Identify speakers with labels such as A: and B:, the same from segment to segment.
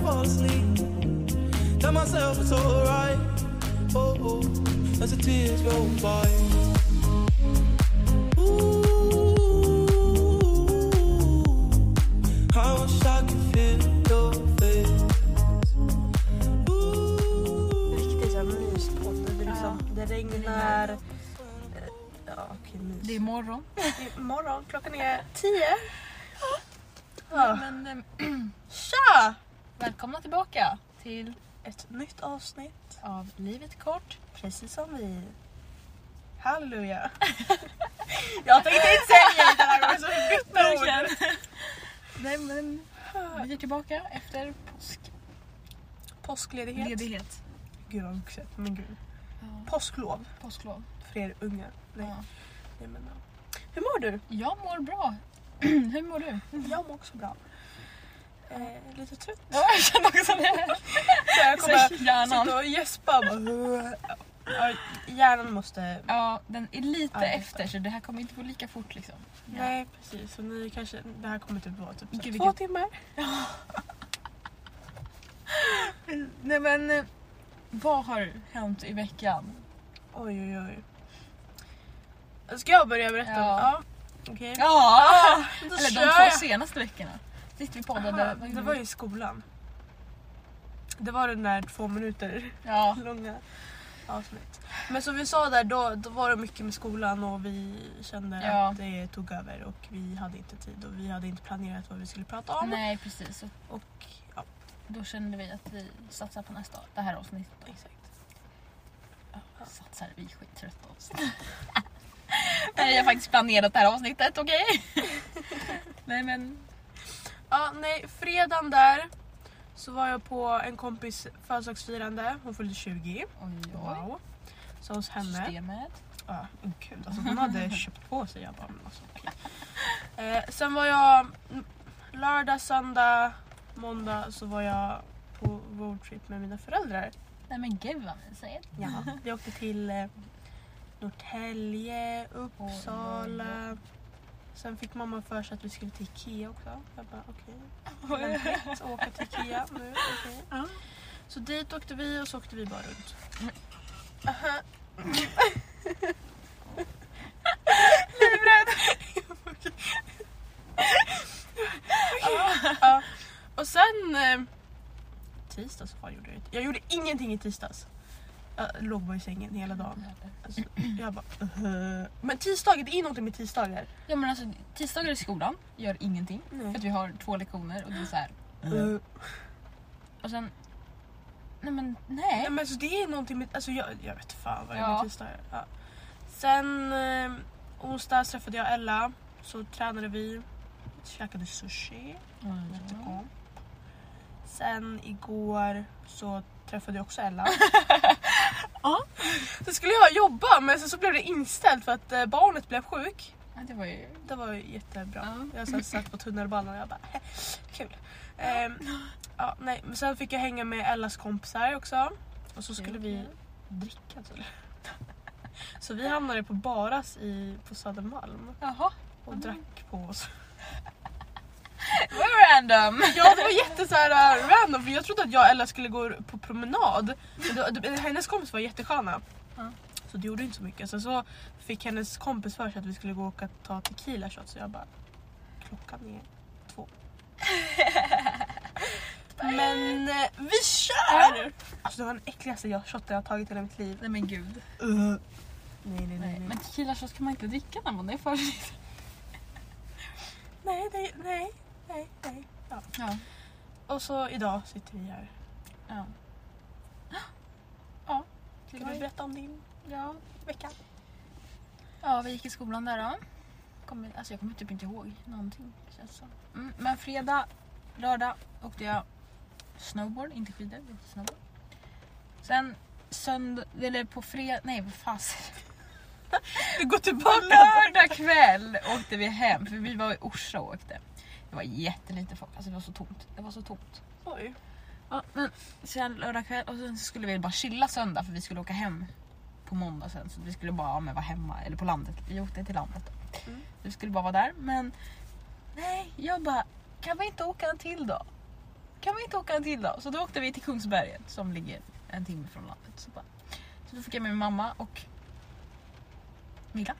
A: fall asleep. Tell myself it's alright. Oh, oh, as the tears roll by. Ooh, I wish I could feel your face. Ooh.
B: Riktigt såhär myspodd. Det, är liksom, det regnar. eh, Ja, okej, mys.
C: Det är morgon.
B: Det är morgon, klockan är tio. Ja.
C: Men, ehm,
B: Tja!
C: välkomna tillbaka till
B: Ett nytt avsnitt,
C: Av livet kort.
B: precis som vi. Halleluja. Jag tänkte inte säga det den här gången så jag bytte ord.
C: Nej, men, vi är tillbaka efter påskledighet.
B: Påskledighet. Gud vad vuxet, men gud.
C: Ja.
B: Påsklov
C: Påsklov.
B: för er unga. Nej,
C: Ja.
B: nej men ja. Hur mår du?
C: Jag mår bra. Hur mår du?
B: Jag mår också bra. Eh, lite trött.
C: Ja, jag känner också det.
B: Så jag kommer
C: Så hjärnan.
B: sitta och gäspa. och bara- Ja, Hjärnan måste...
C: Ja, den är lite
B: Ja,
C: efter så det här kommer inte gå lika fort liksom.
B: Nej precis, och ni kanske... Det här kommer typ vara typ så här
C: Gud,
B: två
C: vilket-
B: timmar.
C: Nej men, eh, vad har hänt i veckan?
B: Oj oj oj. Ska jag börja berätta?
C: Ja.
B: Okej.
C: Ja!
B: Då
C: Eller
B: kör
C: de två
B: jag.
C: senaste veckorna. Sist vi
B: Aha,
C: poddade. vad
B: Det
C: gjorde
B: var
C: vi?
B: ju skolan. Det var den där två minuter
C: Ja.
B: långa avsnitt. Men som vi sa där, då, då var det mycket med skolan och vi kände
C: Ja.
B: att det tog över och vi hade inte tid och vi hade inte planerat vad vi skulle prata om.
C: Nej precis. Så
B: Och ja,
C: Då kände vi att vi satsar på nästa, det här avsnittet. Då.
B: exakt.
C: Ja, Satsar, vi är skittrötta av oss. Nej, jag har faktiskt planerat det här avsnittet, okej? Nej men,
B: Ja, nej, fredagen där så var jag på en kompis födelsedagsfirande. Hon fyllde 20.
C: oj oj.
B: Wow. Så hos henne.
C: Systemet.
B: Ja, men gud alltså hon hade köpt på sig. Jag bara, men alltså, okej. eh, sen var jag mm, lördag, söndag, måndag så var jag på roadtrip med mina föräldrar.
C: Nej men gud vad mysigt.
B: Ja. Vi åkte till eh, Norrtälje, Uppsala. Sen fick mamma för sig att vi skulle till Ikea också. Jag bara okej, okay. lämpligt att åka till Ikea nu. okej.
C: Ja.
B: Så dit åkte vi och så åkte vi bara runt. Ja. Och sen... Eh, tisdags, vad gjorde jag? Jag gjorde ingenting i tisdags. Jag låg bara i sängen hela dagen. Alltså, jag bara... eh. Men tisdagar, det är någonting med tisdagar.
C: Ja men alltså tisdagar i skolan gör ingenting. För att
B: Nej.
C: vi har två lektioner och det är så här.
B: Eh,
C: Och sen, nej men nej.
B: Nej men alltså det är någonting med... Alltså jag, jag vet fan vad det är
C: Ja.
B: med tisdagar. Ja. Sen eh, onsdag träffade jag Ella. Så tränade vi. Käkade sushi.
C: Mm.
B: Jättegott. Sen igår så träffade jag också Ella.
C: Ja.
B: Så skulle jag jobba men sen så blev det inställt för att eh, barnet blev sjuk.
C: Ja, det var ju...
B: Det var ju jättebra.
C: Ja.
B: Jag så satt på tunnelbanan och jag bara kul. Ehm, ja, nej. Men sen fick jag hänga med Ellas kompisar också. Och så skulle vi dricka till. Så vi hamnade på Baras i, på Södermalm
C: Jaha,
B: och drack på oss.
C: det var ju random.
B: Ja det var jätte så här, uh, random för jag trodde att jag och Ella skulle gå på promenad. Men då, då, hennes kompis var jättesköna.
C: Ja.
B: Så det gjorde inte så mycket. Sen så fick hennes kompis för sig att vi skulle gå och ta tequila shot så jag bara klockan är två. Men eh, vi kör! Alltså det var den äckligaste jag- shotten jag har tagit i hela mitt liv.
C: Nej men gud.
B: Uh. Nej nej nej.
C: Nej.
B: Nej,
C: Men tequila shots kan man inte dricka när man är för
B: nej nej nej. nej, nej. Ja.
C: Ja.
B: Och så idag sitter vi här.
C: Ja.
B: Ska du berätta om din
C: Ja.
B: vecka?
C: Ja, vi gick i skolan där då. Kommer, alltså jag kommer typ inte ihåg någonting. Känns som. Mm, men fredag, lördag åkte jag snowboard, inte skidor. utan Snowboard. Sen söndag, eller på fredag, nej vad fasen.
B: Du går
C: På
B: tillbaka.
C: lördag kväll åkte vi hem för vi var i Orsa och åkte. Det var jättelite folk, alltså det var så tomt. Det var så tomt.
B: Oj.
C: Ja, men sen lördag kväll och sen så skulle vi bara chilla söndag för vi skulle åka hem på måndag sen. Så vi skulle bara ja, men vara hemma, eller på landet. Vi åkte till landet då.
B: Mm.
C: Vi skulle bara vara där men nej, jag bara kan vi inte åka en till dag? kan vi inte åka en till då? Så då åkte vi till Kungsberget som ligger en timme från landet. Så, bara, så då fick jag med min mamma och Milla.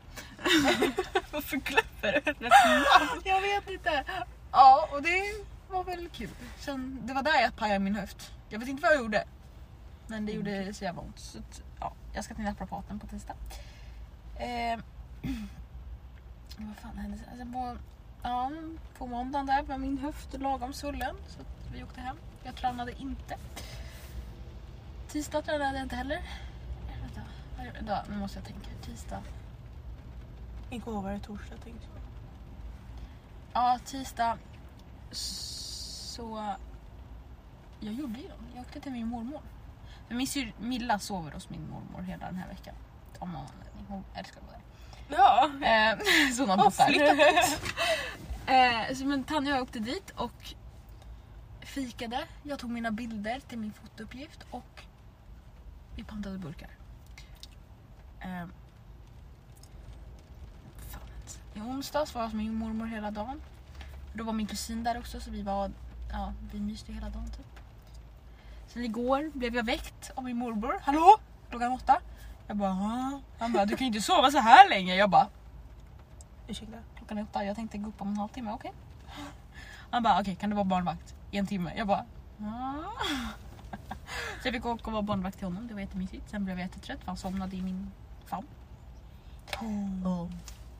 B: Varför glömmer du hennes
C: Jag vet inte. Ja, och det var väl kul. Sen, det var där jag pajade min höft. Jag vet inte vad jag gjorde. Men det gjorde så jävla ont. Så, att, ja, jag ska till naprapaten på tisdag. Eh, vad fan hände sen? sen? På, ja, på måndagen där var min höft lagom svullen. Så att vi åkte hem. Jag tränade inte. Tisdag tränade jag inte heller. Eh, Vänta, vad gjorde- då, nu måste jag tänka. Tisdag.
B: Igår var det torsdag tänkte jag.
C: Ja, tisdag så... Jag gjorde ju dem. Jag åkte till min mormor. För min syr, Milla sover hos min mormor hela den här veckan. Av någon anledning. Hon älskar att vara där.
B: Ja.
C: Eh, så hon har
B: Åh,
C: bott där.
B: flyttat.
C: Eh, så men Tanja och jag åkte dit och fikade. Jag tog mina bilder till min fotouppgift och vi pantade burkar. Eh, fan. alltså. I onsdags var jag hos min mormor hela dagen. Då var min kusin där också så vi var, ja, vi myste hela dagen typ. Sen igår blev jag väckt av min morbror. Hallå? Klockan åtta. Jag bara, "Ah." han bara, du kan ju inte sova så här länge. Jag bara,
B: Ursäkta.
C: klockan är åtta, jag tänkte gå upp om en halvtimme, okej? Han bara, okej kan du vara barnvakt i en timme? Jag bara, "Ja." Så jag fick åka och vara barnvakt till honom, det var jättemysigt. Sen blev jag jättetrött för han somnade i min famn. Oh.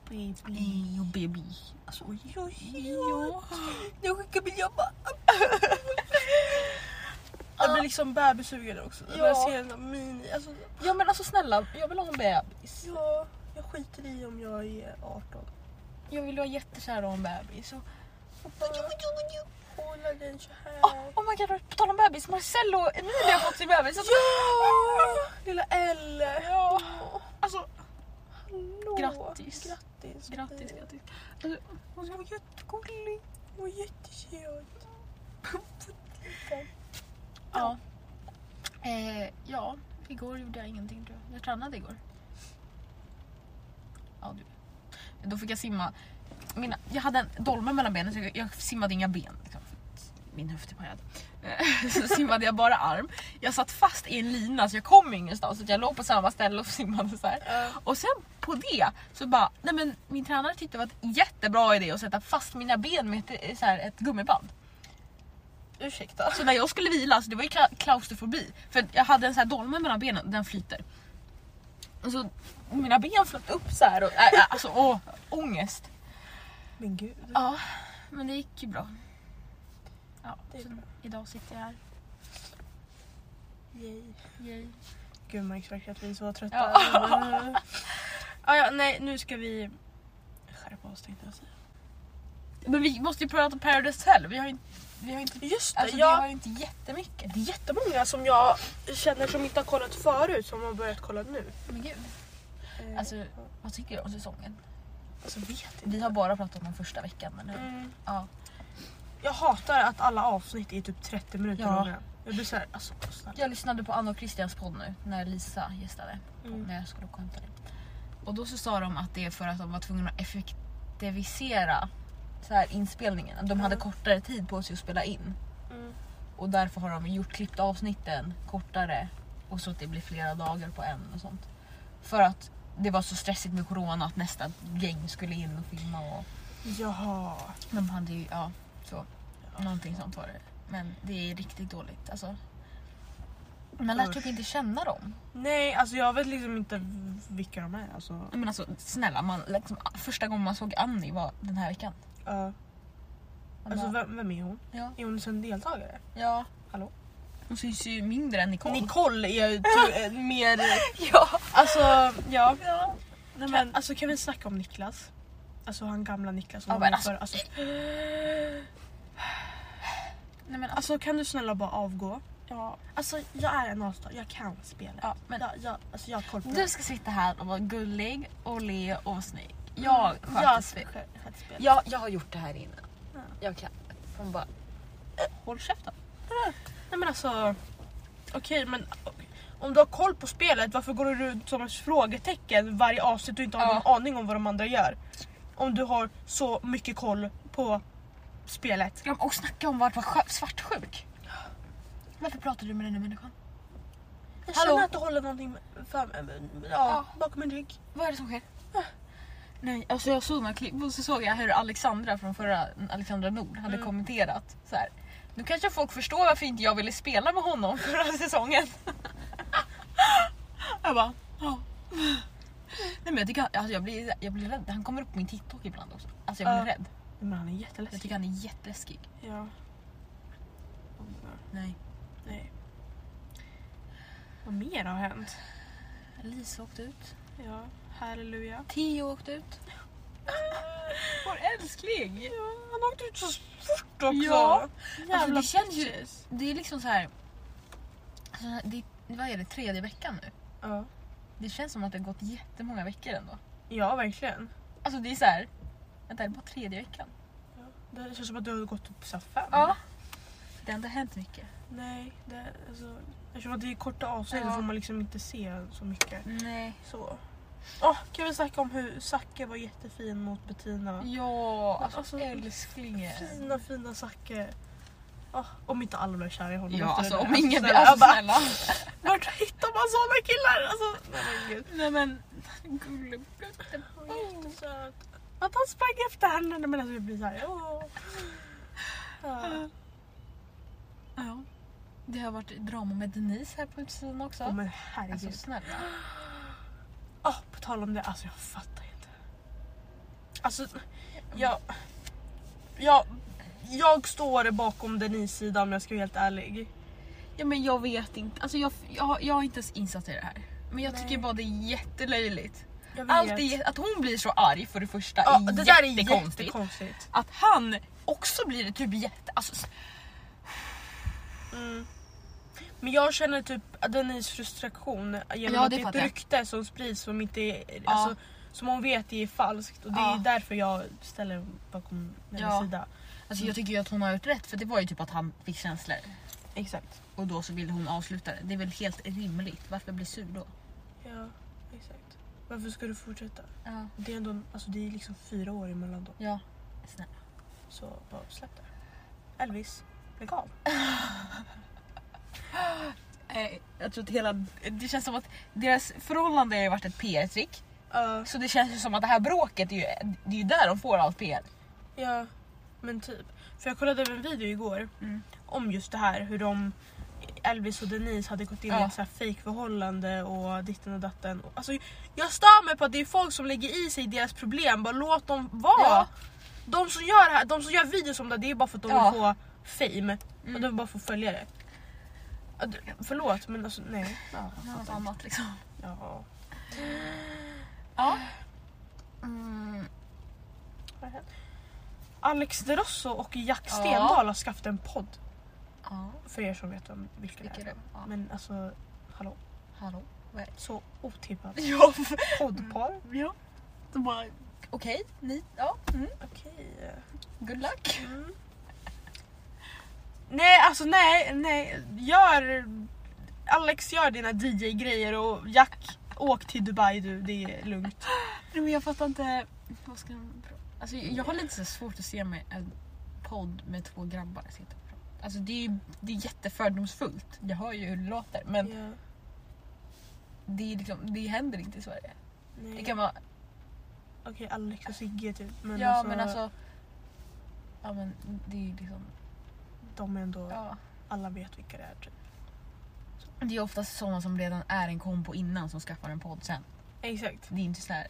B: Baby.
C: Jo baby. Alltså oj oj oj.
B: Nu skickar vi jobba. Jag blir liksom bebissugen också. När Alltså, jag ser
C: Ja.
B: den där mini. Alltså,
C: Ja men alltså snälla, jag vill ha en bebis.
B: ja, jag skiter i om jag är 18.
C: Jag vill vara jättekär och ha en bebis. Och...
B: Hålla den så här.
C: Oh, oh my god, på tal om bebis, Marcello och Emilia har fått sin bebis. Alltså,
B: Ja! Lilla Elle. Ja.
C: alltså
B: Hallå.
C: Grattis.
B: Grattis.
C: grattis, grattis. Alltså, hon ska vara jättegullig.
B: Hon var jättekött.
C: Ja. Eh, ja, igår gjorde jag ingenting tror jag. Jag tränade igår. Ja, du. Då fick jag simma. Mina, jag hade en dolme mellan benen så jag, jag simmade inga ben. Liksom, för att min höft är pajad. Eh, Så simmade jag bara arm. Jag satt fast i en lina så jag kom ingenstans. Så jag låg på samma ställe och simmade så här. Och sen på det så bara, nej men min tränare tyckte det var ett jättebra idé att sätta fast mina ben med ett, eh, så här, ett gummiband.
B: Ursäkta.
C: Så när jag skulle vila, så det var ju kla- klaustrofobi. För jag hade en sån här dolme mellan benen, den flyter. Och så mina ben flöt upp så här och äh, äh, alltså åh, ångest.
B: Men gud.
C: Ja, men det gick ju bra. Ja,
B: Det är
C: så
B: bra.
C: idag sitter jag här.
B: Yay.
C: Yay.
B: Gud märks verkligen att vi är så trötta.
C: Ja.
B: ah, ja, nej nu ska vi skärpa oss tänkte jag säga.
C: Men vi måste ju prata Paradise Hotel. Vi har ju inte, vi har inte,
B: Just det,
C: alltså,
B: jag-
C: det var ju inte jättemycket.
B: Det är jättemånga som jag känner som inte har kollat förut som har börjat kolla nu.
C: Men gud,
B: Eh,
C: alltså vad tycker du om säsongen?
B: alltså vet inte.
C: Vi har bara pratat om den första veckan. Men,
B: Mm.
C: ja.
B: Jag hatar att alla avsnitt är typ 30 minuter
C: Ja.
B: långa. Jag blir såhär, alltså snälla.
C: Jag lyssnade på Anna och Christians podd nu när Lisa gästade.
B: Mm.
C: när jag skulle åka och hämta lite. Och då så sa de att det är för att de var tvungna att effektivisera så här, inspelningen. Att De hade
B: Mm.
C: kortare tid på sig att spela in
B: Mm.
C: och därför har de gjort klippt avsnitten kortare och så att det blir flera dagar på en och sånt. För att det var så stressigt med corona att nästa gäng skulle in och filma och
B: Jaha.
C: de hade ju, ja, så. Någonting sånt var det. Men det är riktigt dåligt alltså. Man lär
B: Usch.
C: typ inte känna dem.
B: Nej, alltså jag vet liksom inte vilka de är. Alltså,
C: Ja, Men alltså snälla, man, liksom, första gången man såg Annie var den här veckan.
B: Ja.
C: Man
B: alltså
C: bara,
B: vem, vem är hon?
C: ja,
B: Är hon liksom en deltagare?
C: ja.
B: Hallå?
C: Hon syns ju mindre än Nicole.
B: Nicole är ju ty- eh, mer...
C: ja.
B: Alltså ja.
C: ja.
B: Nej, men, alltså kan vi snacka om Niklas? Alltså han gamla Niklas. som
C: Ja,
B: var
C: men
B: med
C: alltså-
B: förr, alltså,
C: Nej, men, alltså,
B: alltså kan du snälla bara avgå?
C: ja.
B: Alltså jag är en avstå, jag kan spela.
C: Ja, men,
B: jag, jag, alltså, jag har koll på
C: Du ska sitta här och vara gullig och le och vara snygg. Mm. Jag sköter
B: jag
C: spel.
B: sköter spel.
C: Jag, jag har gjort det här innan.
B: Ja.
C: Jag kan. Hon bara, "Eh, håll käften.
B: Nej men alltså. Okej men om du har koll på spelet varför går du runt som ett frågetecken varje avsnitt och inte har
C: Ja.
B: någon aning om vad de andra gör? Om du har så mycket koll på spelet.
C: Ja, Och snacka om att vara sjö- svartsjuk. Varför pratar du med den här människan?
B: Jag
C: Hallå?
B: känner att du håller någonting för, ja,
C: Ja.
B: bakom min rygg.
C: Vad är det som sker? Ah. Nej, alltså jag såg några klipp och så såg jag hur Alexandra från förra Alexandra Nord hade
B: Mm.
C: kommenterat så här. Nu kanske folk förstår varför inte jag ville spela med honom förra säsongen. jag bara, ja. Nej men jag tycker han, alltså jag, blir, jag blir rädd. Han kommer upp på min TikTok ibland också. Alltså jag blir
B: Ja.
C: rädd.
B: Men han är
C: Jag
B: jätteläskig.
C: tycker han är jätteläskig.
B: Ja.
C: Nej.
B: Nej. Vad mer har hänt?
C: Lisa åkte ut.
B: Ja, halleluja.
C: Theo åkte ut. Vår älskling!
B: Ja, han åkte ut så fort också.
C: Ja.
B: Jävla
C: Alltså, det känns ju-
B: bitches.
C: Det är liksom så här. Alltså, det, vad är det, tredje veckan nu?
B: Ja.
C: Det känns som att det har gått jättemånga veckor ändå.
B: ja, verkligen.
C: Alltså det är så här. Vänta, det är bara tredje veckan.
B: Det känns som att du har gått upp så här fem.
C: Det har inte hänt mycket.
B: Nej, det, alltså, eftersom att det är korta avsnitt
C: Ja.
B: så får man liksom inte se så mycket.
C: Nej.
B: Så. Åh, kan vi snacka om hur Zacke var jättefin mot Bettina?
C: Ja,
B: Men
C: alltså,
B: alltså,
C: älsklingen.
B: Fina, fina Zacke. Åh, om inte alla blev kära i honom
C: Ja,
B: efter
C: alltså
B: det där.
C: om ingen blir...
B: snälla,
C: Alltså
B: jag bara,
C: snälla.
B: Vart hittar man såna killar? Alltså, nej, men gud.
C: Nej men, gulleplutten.
B: Hon var
C: Mm.
B: jättesöt. Att han sprang efter henne nej, men alltså jag blir såhär åh. Ja.
C: Ja. Det har varit drama med Denise här på utsidan också.
B: Åh, men
C: alltså
B: herregud.
C: snälla.
B: Åh, på tal om det, alltså jag fattar inte. Alltså jag... Jag, jag står bakom Denise sida om jag ska vara helt ärlig.
C: Ja men jag vet inte. Alltså jag, jag, jag har inte ens insatt i det här. Men jag
B: Nej.
C: tycker bara det är jättelöjligt.
B: Jag vet.
C: Allt är, jä- att hon blir så arg för det första
B: ja,
C: är,
B: det där är
C: jättekonstigt.
B: jättekonstigt.
C: Att han också blir typ jätte... Alltså, s-
B: Mm. Men jag känner typ Denise frustration genom
C: Ja,
B: att det
C: det
B: är ett
C: fattar jag.
B: rykte som sprids som inte är, alltså, som hon vet är falskt och det
C: Ja.
B: är därför jag ställer bakom hennes
C: Ja.
B: sida.
C: alltså jag tycker ju att hon har gjort rätt för det var ju typ att han fick känslor
B: Exakt.
C: och då så ville hon avsluta det. Det är väl helt rimligt. Varför bli sur då?
B: Ja, exakt. Varför ska du fortsätta? Det är ändå, alltså det är liksom fyra år emellan då.
C: Ja. Snälla.
B: Så bara släpp det. Elvis, lägg av.
C: Jag tror att hela... Det känns som att deras förhållande har ju varit ett PR-trick.
B: Ja,
C: Så det känns ju som att det här bråket, är ju, det är ju där de får allt PR.
B: ja, men typ. För jag kollade över en video igår
C: Mm.
B: om just det här hur de Elvis och Denise hade gått in i
C: Ja.
B: ett så här fejkförhållande och ditten och datten. Alltså, jag stör mig på att det är folk som lägger i sig deras problem, bara låt dem vara.
C: Ja.
B: De, som gör det här, de som gör videos om det det är bara för att de
C: Ja.
B: vill få fame och
C: Mm.
B: de vill bara få följare. Ja, du- Förlåt men alltså nej. Ja,
C: Något annat liksom.
B: ja.
C: Ja. Mm.
B: vad har hänt? Alex Derosso och Jack
C: Ja.
B: Stendahl har skaffat en podd
C: Ja.
B: för er som vet vem, vilka det
C: Vilka
B: är.
C: det ja.
B: Men alltså hallå,
C: Hallå? Vad är det?
B: så otippat
C: Ja.
B: poddpar.
C: ja. De bara... Okej, ni... Ja. Mm.
B: Okej.
C: Good luck.
B: Mm. Nej, alltså nej, nej. Gör... Alex, gör dina DJ-grejer och Jack, åk till Dubai du. Det är lugnt.
C: Nej, men jag fattar inte... Vad ska man prata alltså, Jag har lite så svårt att se mig en podd med två grabbar sitta och prata. Alltså, det, är, ju- det är jättefördomsfullt. Jag hör ju hur det låter. Men det, är liksom, det händer inte i Sverige.
B: nej.
C: Det kan vara...
B: Okej, Alex och Sigge typ. Men,
C: ja,
B: alltså,
C: men alltså... Ja, men det är ju liksom...
B: de är ändå...
C: Ja.
B: Alla vet vilka det är typ.
C: Det är oftast sådana som redan är en kompo innan som skaffar en podd sen.
B: Exakt.
C: Det är inte så här...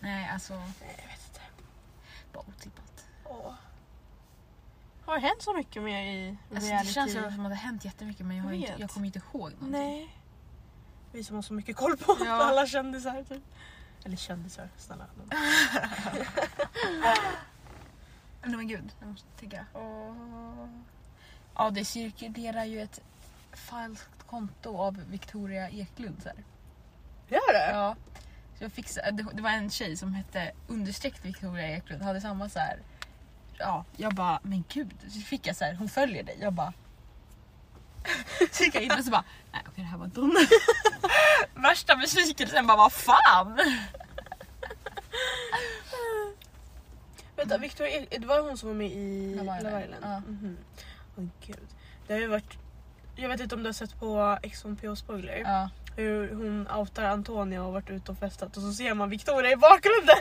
C: Nej, alltså...
B: Nej, jag vet inte.
C: Bara otippat.
B: Åh. Har det hänt så mycket mer i
C: Alltså, det
B: reality?
C: känns ju som att det har hänt jättemycket men jag, har
B: Jag
C: inte,
B: vet.
C: jag kommer inte ihåg någonting.
B: Nej. Vi som har så mycket koll på
C: Ja.
B: alla kändisar typ. Eller kändisar, snälla.
C: Nej men gud, jag måste tänka. Ja det cirkulerar ju ett falskt konto av Victoria Eklund. Så här.
B: Äh. Gör det?
C: Ja. Så jag fixade, det det var en tjej som hette understreck Victoria Eklund, hade samma så här. Ja, jag bara men gud, så fick jag så här, hon följer dig. Jag bara så gick jag in och så bara, nej okej det här var inte hon. Värsta besvikelsen bara, vad fan!
B: Vänta, Victoria, E- det var hon som var med i
C: Love
B: Love
C: Island.
B: Island?
C: Ja.
B: Mhm. Men gud. Det har ju varit... Jag vet inte om du har sett på Ex on PH spoiler.
C: Ja.
B: Hur hon outar Antonia och har varit ute och festat och så ser man Victoria i bakgrunden.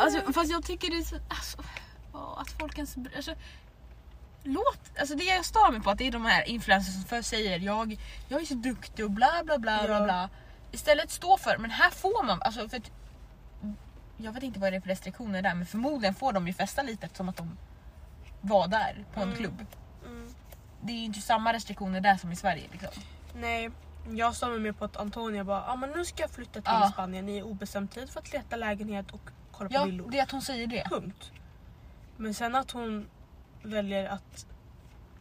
C: Alltså, fast jag tycker det är så... Alltså, ja, att folk ens... Alltså, låt, alltså det jag stör mig på att det är de här influencers som först säger jag, jag är så duktig och bla bla bla bla
B: Ja.
C: bla. Istället stå för men här får man... Alltså, för att, jag vet inte vad det är för restriktioner där men förmodligen får de ju festa lite eftersom att de var där på en
B: Mm.
C: klubb. Det är ju inte samma restriktioner där som i Sverige. Liksom.
B: Nej, jag stör mig mer på att Antonia bara ah, men nu ska jag flytta till
C: Ja.
B: Spanien i obestämd tid för att leta lägenhet och kolla på
C: Ja,
B: villor.
C: det är att hon säger det.
B: Punkt. Men sen att hon väljer att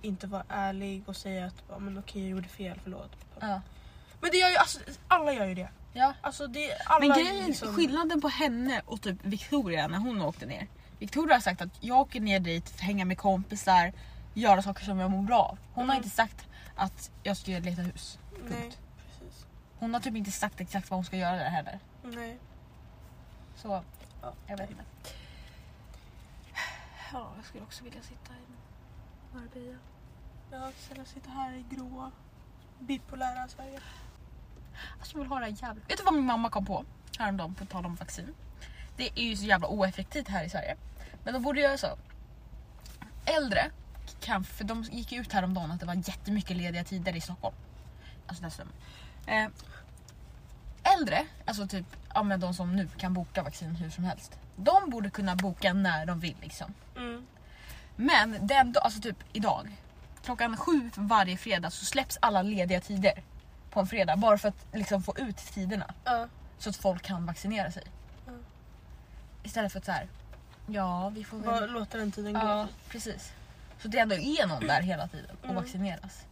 B: inte vara ärlig och säga att ja men okej jag gjorde fel, förlåt.
C: Ja.
B: Men det gör ju, alltså, alla gör ju det.
C: Ja.
B: Alltså, det alla
C: Men grejen,
B: liksom-
C: skillnaden på henne och typ Victoria när hon åkte ner. Victoria har sagt att jag åker ner dit, för att hänga med kompisar, göra saker som jag mår bra av. Hon har
B: Mm.
C: inte sagt att jag ska leta hus.
B: Nej,
C: punkt.
B: precis.
C: Hon har typ inte sagt exakt vad hon ska göra där heller.
B: Nej.
C: Så
B: Ja.
C: jag vet inte. Ja, jag skulle också vilja sitta i Marbella.
B: Jag ska sitta här i gråa bipolära Sverige.
C: Alltså jag vill ha det här jävligt. Vet du vad min mamma kom på häromdagen på tal om vaccin? Det är ju så jävla oeffektivt här i Sverige. Men de borde göra så. Äldre kan, för de gick ju ut häromdagen att det var jättemycket lediga tider i Stockholm. Alltså den stunden. Eh, äldre, alltså typ ja, men de som nu kan boka vaccin hur som helst. De borde kunna boka när de vill liksom.
B: Mm.
C: Men den, da- alltså typ idag, klockan sju varje fredag så släpps alla lediga tider på en fredag. Bara för att liksom få ut tiderna
B: Ja.
C: så att folk kan vaccinera sig.
B: Mm.
C: Istället för att så här, ja vi får väl...
B: Bara låta den tiden gå.
C: ja, precis. Så det ändå är någon där hela tiden och
B: Mm.
C: vaccineras.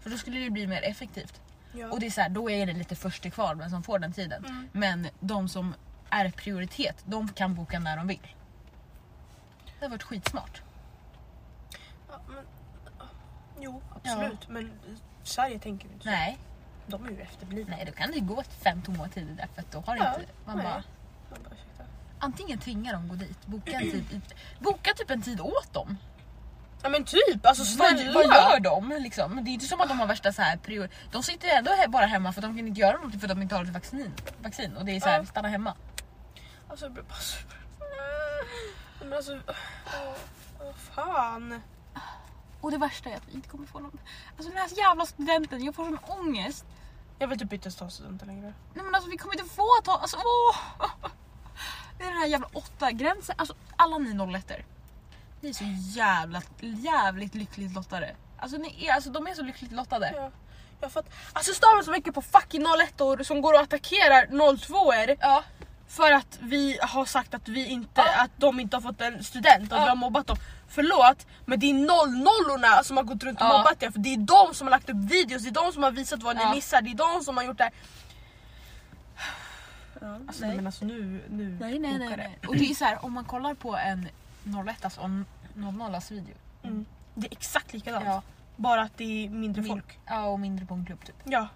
C: För då skulle det ju bli mer effektivt.
B: Ja.
C: Och det är så här, då är det lite först till kvar men som får den tiden.
B: Mm.
C: Men de som är prioritet, de kan boka när de vill. Det har varit skitsmart.
B: Ja, men, jo, absolut. Men Sverige tänker vi inte så.
C: Nej,
B: De är ju efterblivna.
C: nej då kan det ju gå fem tomma tider där för att då har
B: Ja,
C: inte... Man
B: nej.
C: bara,
B: Man bara, ursäkta.
C: antingen tvingar dem gå dit, boka, en tid, i- boka typ en tid åt dem.
B: Ja men typ, alltså
C: Vad,
B: snälla!
C: vad gör de? Liksom? Det är inte som att de har värsta så här prior... De sitter ju ändå he- bara hemma för att de kan inte göra någonting för att de inte har ett vaccin. vaccin och det är så här,
B: Ja.
C: stanna hemma.
B: Alltså jag blir bara så... Men alltså... Åh, åh, fan.
C: Och det värsta är att vi inte kommer få någon... Alltså den här jävla studenten, jag får sån ångest.
B: Jag vill typ inte ens ta studenten längre.
C: Nej men alltså vi kommer inte få ta... Alltså åh! Det är den här jävla åtta gränsen. Alltså alla ni 01 Ni är så jävla, jävligt lyckligt lottade. Alltså, ni är, alltså de är så lyckligt lottade.
B: Ja. Jag fatt... Alltså stör mig så mycket på fucking 01 som går och attackerar 02 er
C: Ja.
B: för att vi har sagt att, vi inte,
C: Ja.
B: att de inte har fått en student, att
C: Ja.
B: vi har mobbat dem. Förlåt, men det är 00orna som har gått runt och
C: Ja.
B: mobbat er för det är de som har lagt upp videos, det är de som har visat vad
C: Ja.
B: ni missar, det är de som har gjort det här. alltså,
C: nej.
B: nej. Men alltså nu, nu
C: Nej, nej,
B: kokar
C: nej,
B: det.
C: nej. Och det är så här, om man kollar på en 01 alltså, och en 00 video.
B: Det är exakt likadant. Bara att det är mindre
C: Min-
B: folk.
C: ja, och mindre på en klubb typ.
B: Ja.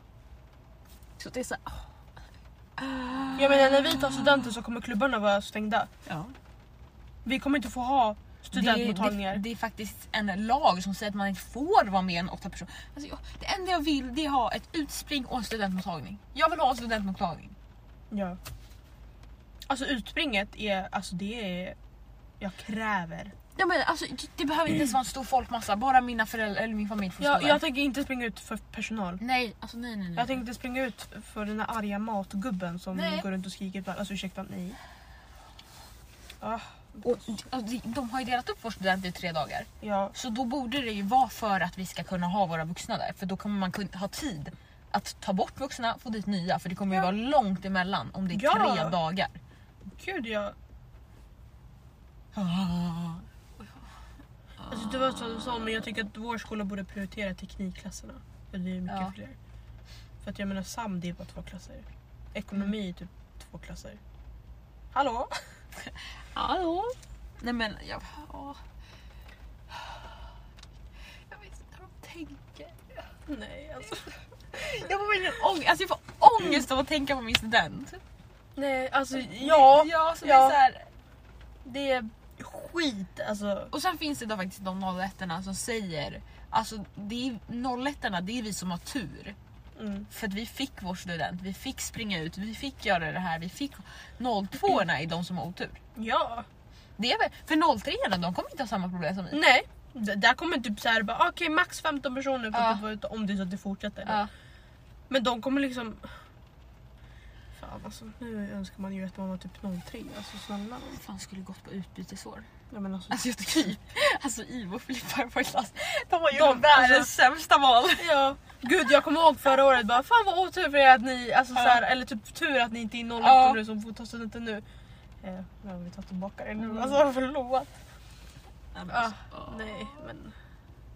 C: Så det är så här,
B: Jag menar när vi tar studenten så kommer klubbarna vara stängda.
C: ja.
B: Vi kommer inte få ha
C: det,
B: studentmottagningar.
C: det, det är faktiskt en lag som säger att man inte får vara mer än åtta personer. Alltså, jag, det enda jag vill det är ha ett utspring och en studentmottagning. Jag vill ha en studentmottagning.
B: Ja. Alltså utspringet är, alltså det är, jag kräver.
C: Jag menar, alltså, det- det behöver inte ens vara en stor folkmassa, bara mina föräldrar eller min familj får
B: Jag,
C: stå
B: jag
C: där.
B: tänker inte springa ut för personal.
C: Nej, alltså nej nej nej.
B: Jag tänker inte springa ut för den där arga matgubben som
C: Nej.
B: går runt och skriker på alla. Alltså ursäkta, nej. Ah,
C: och, alltså, de har ju delat upp vår student i tre dagar.
B: ja.
C: Så då borde det ju vara för att vi ska kunna ha våra vuxna där. För då kommer man kun- ha tid att ta bort vuxna få dit nya. För det kommer ju
B: Ja.
C: vara långt emellan om det är
B: Ja.
C: tre dagar.
B: Gud jag...
C: Ah.
B: Alltså det var så du sa, men jag tycker att vår skola borde prioritera teknikklasserna. För det är ju mycket
C: Ja.
B: fler. För att jag menar SAM det är bara två klasser. Ekonomi är typ två klasser. Hallå?
C: Hallå? Nej men jag... ja. Jag vet inte vad de tänker.
B: Nej alltså.
C: Jag får verkligen ångest. Alltså jag får ångest av att tänka på min student.
B: Nej alltså ja.
C: Ja, så det
B: ja.
C: är så här...
B: Det är
D: skit. Alltså.
C: Och sen finns det då faktiskt de 01 som säger, alltså det är 01 det är vi som har tur.
B: Mm.
C: För att vi fick vår student, vi fick springa ut, vi fick göra det här, vi fick 02 är de som har otur.
B: Ja.
C: Det är väl, för 03 de kommer inte ha samma problem som vi.
B: Nej. D- där kommer typ såhär bara okej max 15 personer får
C: Ja.
B: typ vara ute om det är så att det fortsätter.
C: Ja.
B: Men de kommer liksom... Fan alltså nu önskar man ju att man var typ 03 alltså snälla.
C: Fan skulle gått på utbytesår.
B: Nej, men alltså,
C: Alltså jag tycker alltså Ivo och Filippa i vår klass, de var ju
B: De-
C: de världens
B: alltså-
C: sämsta val.
B: Ja, gud jag kommer ihåg förra året bara fan vad otur för er att ni, alltså
C: Ja.
B: såhär, eller typ tur att ni inte är 08
C: Ja.
B: nu som får ta studenten nu. Eh, nu har vi tagit tillbaka det nu,
C: Mm.
B: alltså förlåt.
C: Ja,
B: Ja, nej men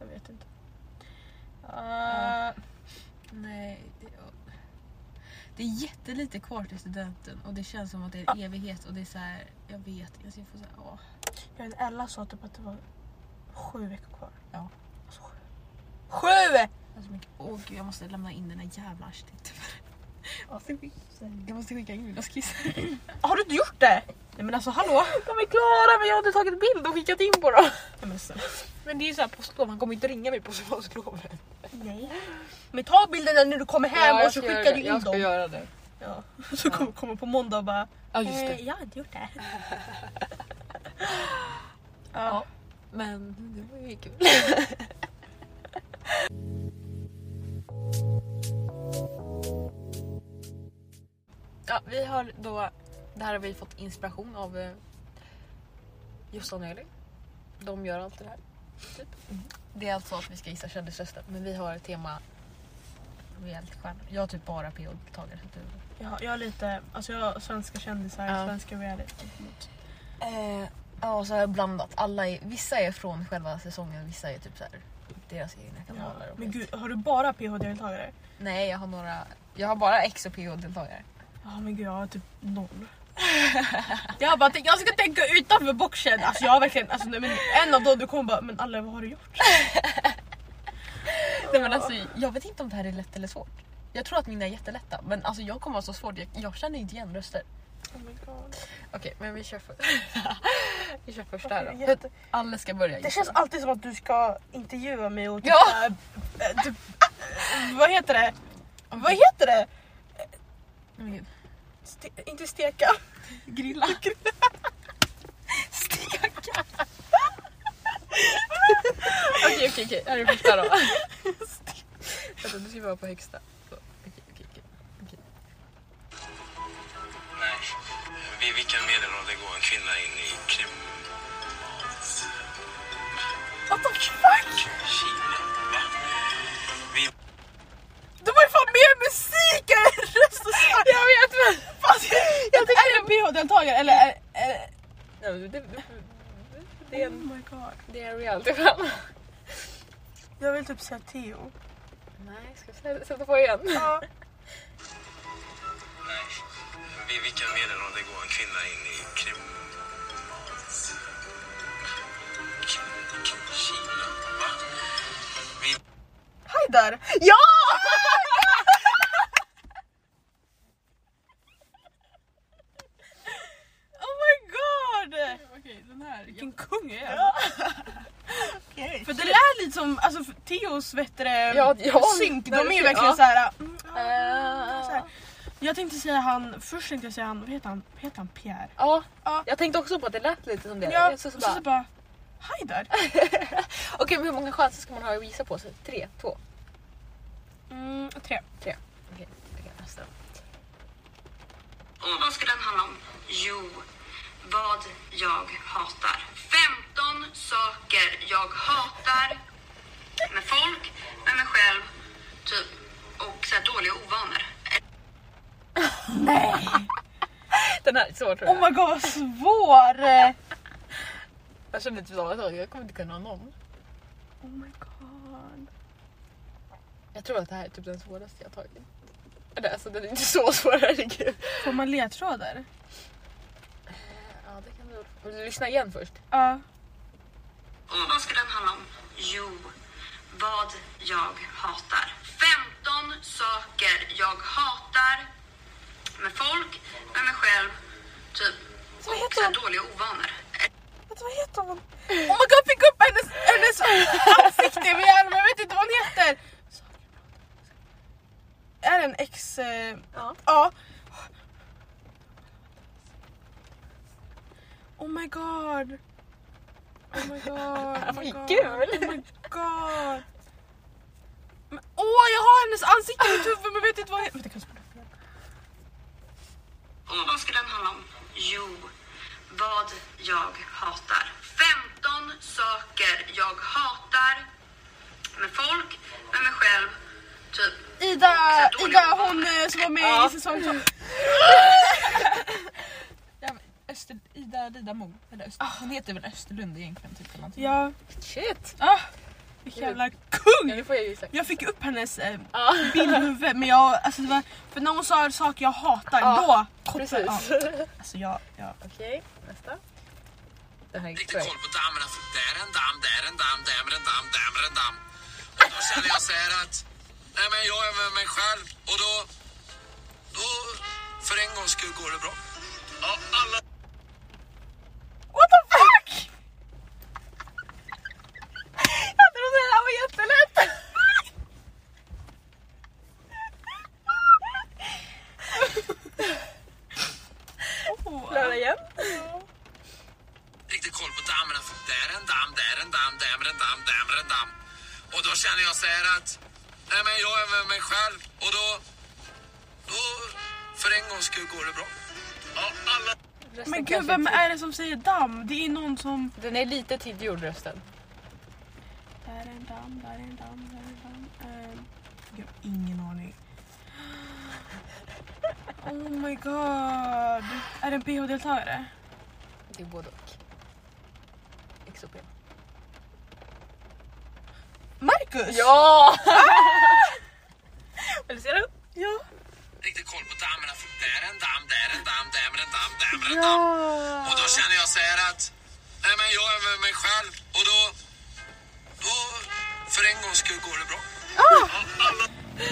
B: jag vet inte. Eh,
C: Ja. Nej. Det, det är jättelite kvar till studenten och det känns som att det är en evighet och det är så här, jag vet, jag ska få så här, åh.
B: Jag vet, Ella sa typ att det var sju veckor kvar.
C: Ja.
B: Alltså, sju. Sju!
C: Alltså, mycket. Åh gud, jag måste lämna in den här jävla arkitekturen. Alltså, Jag måste skicka in mina skisser.
B: Har du inte gjort det? Nej men alltså hallå!
C: De är klara men jag har inte tagit bild och skickat in på dem.
B: Nej, men, alltså. snälla.
C: Men det är ju såhär påsklov, han kommer inte ringa mig på påsklovet.
B: men ta bilderna när du kommer hem och så skickar du in
C: Jag ska
B: dem.
C: göra det.
B: Ja. Så kommer kommer på måndag och bara
C: Ja just det.
B: "Eh, jag har inte gjort det.
C: Ja. Men det var ju kul. ja, vi har då, det här har vi fått inspiration av eh, Jossan och Elin. De gör allt det här. Typ. Det är alltså att vi ska gissa kändisrösten, men vi har ett tema Reality-stjärnor. Jag har typ bara PO-deltagare. så du-
B: Jag har, jag har lite, alltså jag har svenska kändisar,
C: Ja.
B: svenska reality.
C: Eh, ja, så har jag blandat. Alla är, vissa är från själva säsongen, vissa är typ så här, deras egna
B: Ja.
C: kanaler. och
B: Men
C: skit.
B: gud, har du bara PH-deltagare?
C: Nej, jag har några. Jag har bara X och PO-deltagare.
B: Ja men gud, jag har typ noll. jag har bara tänkt, jag ska tänka utanför boxen. Alltså jag har verkligen, alltså, nej, men en av dem du kommer bara, men alla vad har du gjort?
C: Nej, men alltså, jag vet inte om det här är lätt eller svårt. Jag tror att mina är jättelätta, men alltså, jag kommer ha så svårt. Jag, jag känner inte igen röster.
B: Oh my God.
C: Okej, men vi kör, för... vi kör först här då.
B: Okej, jätte-
C: Alla ska börja
B: Det
C: gissa.
B: känns alltid som att du ska intervjua mig och typ,
C: Ja.
B: ja. typ vad heter det? Vad heter det?
C: Men gud.
B: Ste inte steka.
C: Grilla. Steka. Okej, okej, okej. Här är första då. Vänta, du ska vara på högsta. Så, Okej, okej, okej.
E: Nej. Vid vilken medelålder går en kvinna in i krim...
B: What the fuck?
E: Kina? Va? Vid...
B: Det var ju fan mer musik än röst och sång! Jag vet men! Alltså, jag tycker är det en PH-deltagare eller? Är,
C: eh,
B: är,
C: Nej, men det, det, det är en,
B: my god.
C: Mm. det är en realitystjärna.
B: Jag vill typ säga Theo.
C: Nej, ska vi sätta- sätta på igen?
B: Ja.
E: Nej. Vid vilken medelålder går en kvinna in i krim... Kina? Va? Vid...
B: Haidar! Ja! oh my god!
C: Okej, den här.
B: Vilken kung är jag? För det är lite som alltså, för Theos vet du, det,
C: Ja, ja.
B: synk, de
C: Där
B: är ju
C: ser-
B: verkligen
C: ja.
B: såhär...
C: Eh,
B: så här.
C: Ja,
B: Jag tänkte säga han, först tänkte jag säga han, vad heter han? Heter han Pierre? Ja.
C: jag tänkte också på att det lät lite som det.
B: Ja,
C: Jag
B: och
C: så
B: så,
C: så
B: så
C: bara,
B: Eh, bara... Hej där!
C: okej, men hur många chanser ska man ha att gissa på? Så, tre, två,
B: Mm, tre.
C: okej. okej, nästa.
F: Och vad ska den handla om? Jo, vad jag hatar. 15 saker jag hatar med folk, med mig själv, typ. Och så här dåliga ovanor.
C: Den här är svår tror
B: Oh
C: jag.
B: my god vad svår!
C: Jag känner typ av att jag kommer inte kunna ha någon.
B: Oh my god.
C: Jag tror att det här är typ den svåraste jag har tagit. Eller alltså den är inte så svår, herregud.
B: Får man ledtrådar?
C: Ja, det kan du. Vill du lyssna igen först?
B: Ja.
F: Och vad ska den handla om? Jo, vad jag hatar. 15 saker jag hatar med folk, med mig själv, typ. Och så här dåliga ovanor.
C: Vad
B: inte vad heter hon? Oh my god, fick upp hennes, hennes ansikte vid hjärnan, men jag vet inte vad hon heter. Är det en ex... Eh, ja. Oh my god. Oh my god. Oh my god. Oh my god. Men, Åh, jag har hennes ansikte i mitt huvud men vet inte vad hon heter. Vänta, kan jag spola upp igen?
F: Och vad ska den handla om? Jo, vad jag hatar. 15 saker jag hatar med folk, med mig själv, typ.
B: Ida, Ida hon eh, som var med i säsong två.
C: Ja, men Öster, Ida Ridamo. Eller Öster, Hon heter väl Österlund egentligen? Typ, eller någonting.
B: Ja,
D: Ah. Shit!
B: ah, vilken jävla kung!
D: Ja, nu får jag ju sagt.
B: Jag fick upp hennes eh, bild i huvudet men jag, alltså det var, för när hon sa saker jag hatar
D: Ja,
B: då kopplade jag.
D: Precis.
B: Alltså jag, jag.
D: Okej, nästa. Det här är
E: Riktigt
D: sjukt.
E: koll på dammen, för där är en damm, där är en damm, där är en damm, där är en damm. Och då känner jag så här att, nej men jag är med mig själv och då, då, för en gångs skull går det bra. Ja, alla
B: What the fuck!
C: Jag trodde det här var jättelätt!
D: Klara igen.
E: riktigt koll på dammen. För där är en damm, där är en damm, där är en damm, där är en damm. Och då känner jag så här att, nej men jag är med mig själv och då, då, för en gångs skull går det bra. Ja, alla
D: Rösten
B: Men gud
D: kanske
B: vem
D: till-
B: är det som säger damm? Det är någon som...
D: Den är lite tillgjord rösten.
B: Där är en damm, där är en damm, där är en damm. Ehm, jag har ingen aning. Oh my god. Är det en PH-deltagare?
D: Det är både och. XOP.
B: Marcus?
D: Ja! Vill du se den?
B: Ja.
E: riktigt koll på dammen. För där är en damm, där är en damm, där är en damm, där är en damm. Och då känner jag så här att, nej men jag är med mig själv och då, då, för en gångs skull går det bra.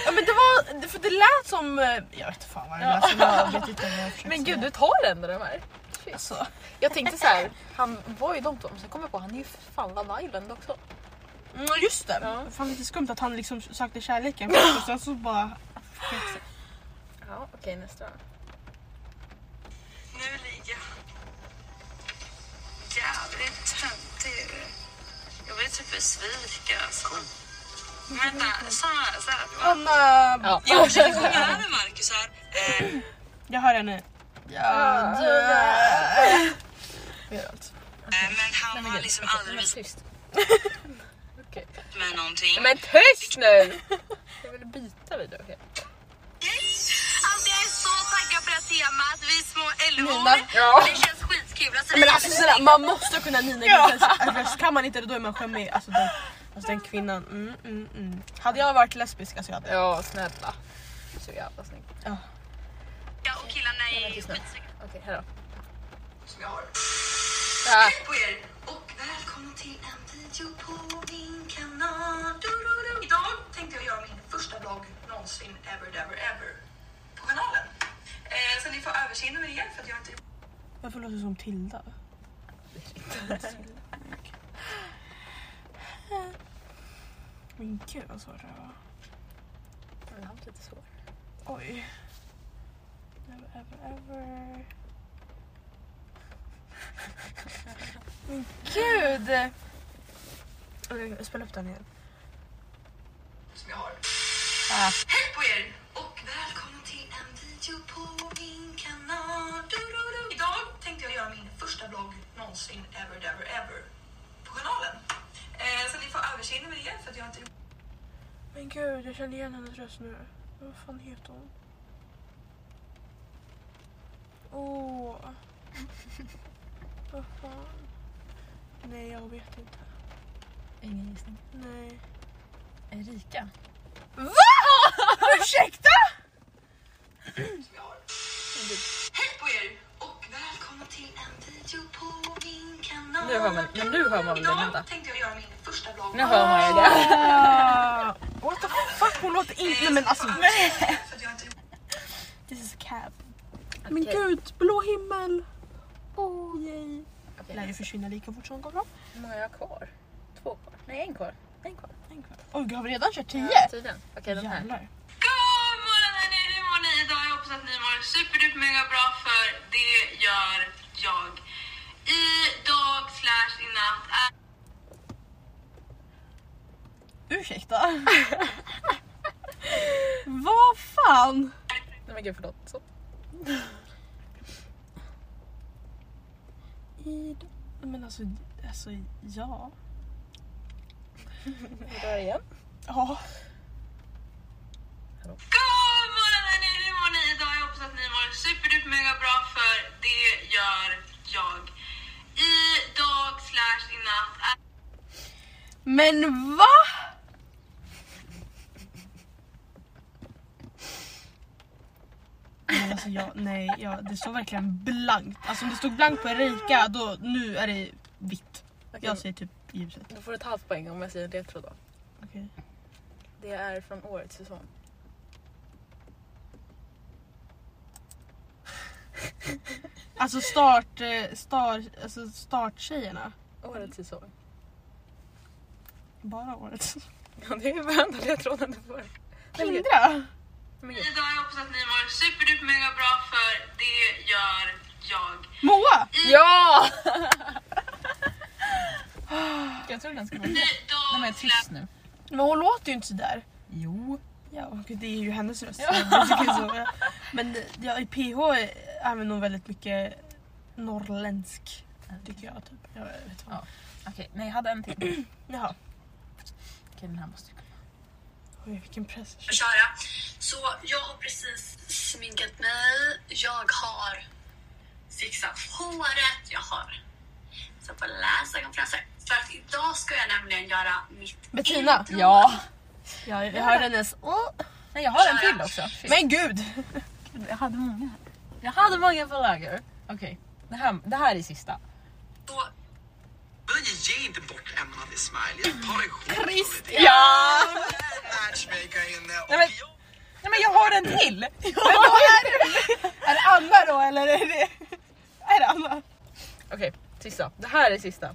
B: ja men det var, för det lät som... eh, Jag vet inte fan vad det lät som. Jag vet inte om jag försöker
D: Men
B: säga.
D: gud du tar ändå den här.
B: Alltså.
D: Jag tänkte så här, han var ju de två, men sen kom jag på han är ju för fan Van Island också.
B: Mm, just det.
D: Ja.
B: Fan lite skumt att han liksom sökte kärleken först och sen så bara...
D: Ja, okej nästa.
F: Nu ligger jag jävligt töntig i det. Jag blir typ besviken alltså. Men Vänta, sa han så här?
B: Anna!
D: Ja.
F: Jag försöker sjunga över Marcus här. Eh,
B: Jag hör henne. Ja, du. Det är allt.
F: eh, men han har liksom aldrig
D: Men
F: visat
D: tyst.
F: mig någonting.
D: Men tyst nu! Jag vill byta video. okej.
F: Alltså jag är så taggad på det här temat. Vi små
B: Nina.
F: LH-or.
D: Ja.
F: Det känns skitkul. Alltså, vi
B: Men
F: är
B: alltså sådär, man måste kunna Nina Gripens röst. Alltså, Kan man inte det då är man skämmig. Alltså den, alltså, den kvinnan. Mm, mm, mm. Hade jag varit lesbisk alltså jag hade...
D: Ja, snälla. Så jävla snygg.
F: väldigt- och killarna är
D: tyst nu.
F: skitsnygga.
D: Okej, hejdå.
F: Som jag har.
D: Ah,
F: på er och välkomna till en video på min kanal. Du, du, du. Idag tänkte jag göra min första vlogg någonsin ever, ever, ever på kanalen. Eh, så ni får överseende med det för att jag inte
B: Varför låter du som Tilda? Men gud vad svårt det här var.
D: den här var lite svår.
B: Oj. Never ever ever. Men gud! Okej, Spela upp den igen.
F: som jag har. Hej på er och välkomna till en video på min kanal. Du, du, du. Idag tänkte jag göra min första vlogg någonsin ever, ever, ever på kanalen. Eh, så ni får överseende med det för att jag inte
B: Men gud, jag känner igen hennes röst nu. Vad fan heter hon? Åh. Vad fan? Nej, jag vet inte.
C: Ingen gissning.
B: Nej.
C: Erika.
B: Ursäkta?
F: Hej på er och välkomna till en video på min kanal.
D: Nu hör man- men nu hör man väl det,
F: Idag
D: vänta.
F: tänkte jag göra min första vlogg.
D: Nu hör man ju det.
B: What the fuck, hon låter inte... Nej men alltså.
F: För att jag inte
B: This is a cab. Men gud, blå himmel. Åh, yay.
D: Okej,
B: Lär ju försvinna lika fort som de kommer fram.
D: Hur många har jag kvar? Två kvar? Nej, en kvar. En kvar. En kvar.
B: Oj, har vi redan kört 10?
D: Ja, tiden. Okej, den här.
B: Jävlar.
F: God morgon hörni, hur mår ni idag? Jag hoppas att ni mår superduper mega bra för det gör jag. Idag slash i natt är...
B: Ursäkta. Vad fan?
D: Nej men gud, förlåt. Så.
B: Men alltså, alltså ja.
D: Vi drar igen.
B: Ja.
F: God morgon hörni, hur mår ni idag? Jag hoppas att ni mår superduper mega bra för det gör jag. Idag slash i natt är...
B: Men va? Men alltså jag, nej, jag, det står verkligen blankt. Alltså om det stod blankt på Erika, då nu är det vitt.
D: Okej,
B: Jag säger typ ljuset.
D: Då får du ett halvt poäng om jag säger ledtråd då.
B: Okej.
D: Det är från årets säsong.
B: Alltså start, eh, star, alltså starttjejerna.
D: Årets säsong.
B: Bara året.
D: Ja, det är varenda ledtråden du får. Nej, men gud.
B: Hindra!
D: Men
F: Ni
D: gud.
F: idag, jag hoppas att ni mår superduper mega bra för det gör jag.
B: Moa!
D: Ja!
C: Jag tror den ska vara...
F: Idag
C: Den är tyst nu.
B: Men hon låter ju inte sådär.
C: Jo.
B: Ja, och det är ju hennes röst. Jag tycker så, ja. Men ja, i PH är vi nog väldigt mycket norrländsk. Tycker jag. Typ. jag vet inte vad.
C: Ja. Okej, nej jag hade en till. Okej
B: Jaha.
C: den här måste du
B: Oj, vilken press.
F: köra. Så jag har precis sminkat mig. Jag har fixat håret. Jag har satt på läsögonfransar. För att idag ska jag nämligen göra mitt
B: Bettina!
F: intro.
B: Ja, jag hörde hennes... Åh.
C: Nej jag har en till också.
B: Men gud!
C: Men jag hade många. Jag hade många på lager. Okej, det, här, det här är sista.
F: Så
E: Men ge inte bort Emma din smile. Ta dig själv. Christian!
C: Ja!
E: Matchmaker inne och
C: Nej, men-
E: jag...
C: Nej men jag har en till!
B: Är det Anna då eller? Är det, är det Anna?
C: Okej, sista. Det här är sista.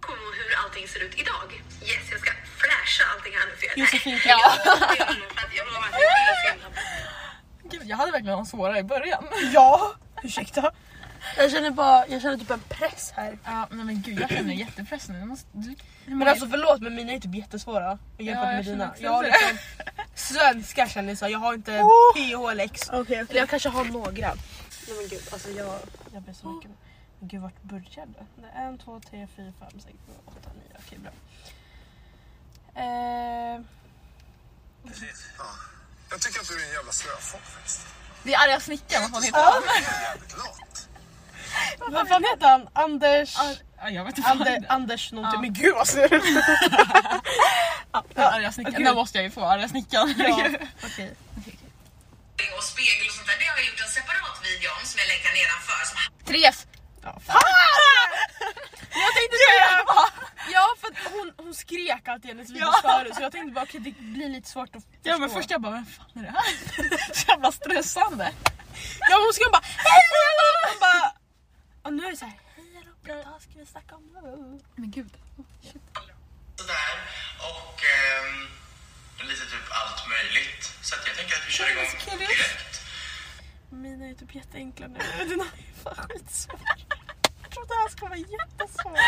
F: kommer hon hur allting ser ut idag. Yes, jag ska flasha allting här nu. För jag,
B: Josefin
F: Nej, jag ska inte göra det för att jag lovar att jag inte ska filma.
C: Gud, jag hade verkligen de svåra i början.
B: Ja! Ursäkta. Jag känner bara, jag känner typ en press här.
C: Ja, nej men gud jag känner jättepress nu. Jag måste, du,
B: Men alltså förlåt men mina är typ jättesvåra jämfört
C: Ja, jag
B: med
C: känner
B: dina.
C: också
B: Jag har
C: det.
B: liksom svenska kändisar, jag har inte PH eller X. Eller jag kanske har några. Nej men gud alltså jag... Jag blir så mycket... Men gud vart började det? En, två, tre, fyra, fem, sex, sju, åtta, nio. Okej bra. Eh,
G: Jag tycker att du är en jävla slöfock faktiskt.
C: det är arga snickaren, vad fan heter
B: Ja.
C: han?
G: Jävligt lat.
B: vad fan heter han? Anders...
C: Ja, jag vet inte. vad han
B: Ander,
C: heter.
B: Anders någonting.
C: Ja.
B: Men gud vad ser du
C: Den arga snickaren.
B: Gud.
C: Den måste jag ju få, arga snickaren.
B: Okej.
F: och spegel och sånt där. Det har jag gjort en separat video om som jag länkar nedanför. Som
C: Therese!
B: Ja, fan. Jag tänkte säga... Ja för att hon, hon skrek alltid i hennes videos förut så jag tänkte bara okej det blir lite svårt att förstå.
C: Ja men först jag bara, vem fan är det här? Så jävla stressande.
B: Ja men hon skrek hon bara hej hallå! Hon bara... Och nu är det såhär hej hallå idag ska vi snacka om...
C: Men gud.
H: sådär och ehm, lite typ allt möjligt. Så att jag tänker att vi kör igång direkt.
B: Mina är typ jätteenkla nu. Dina är fan skitsvåra. Jag trodde det här skulle vara jättesvårt.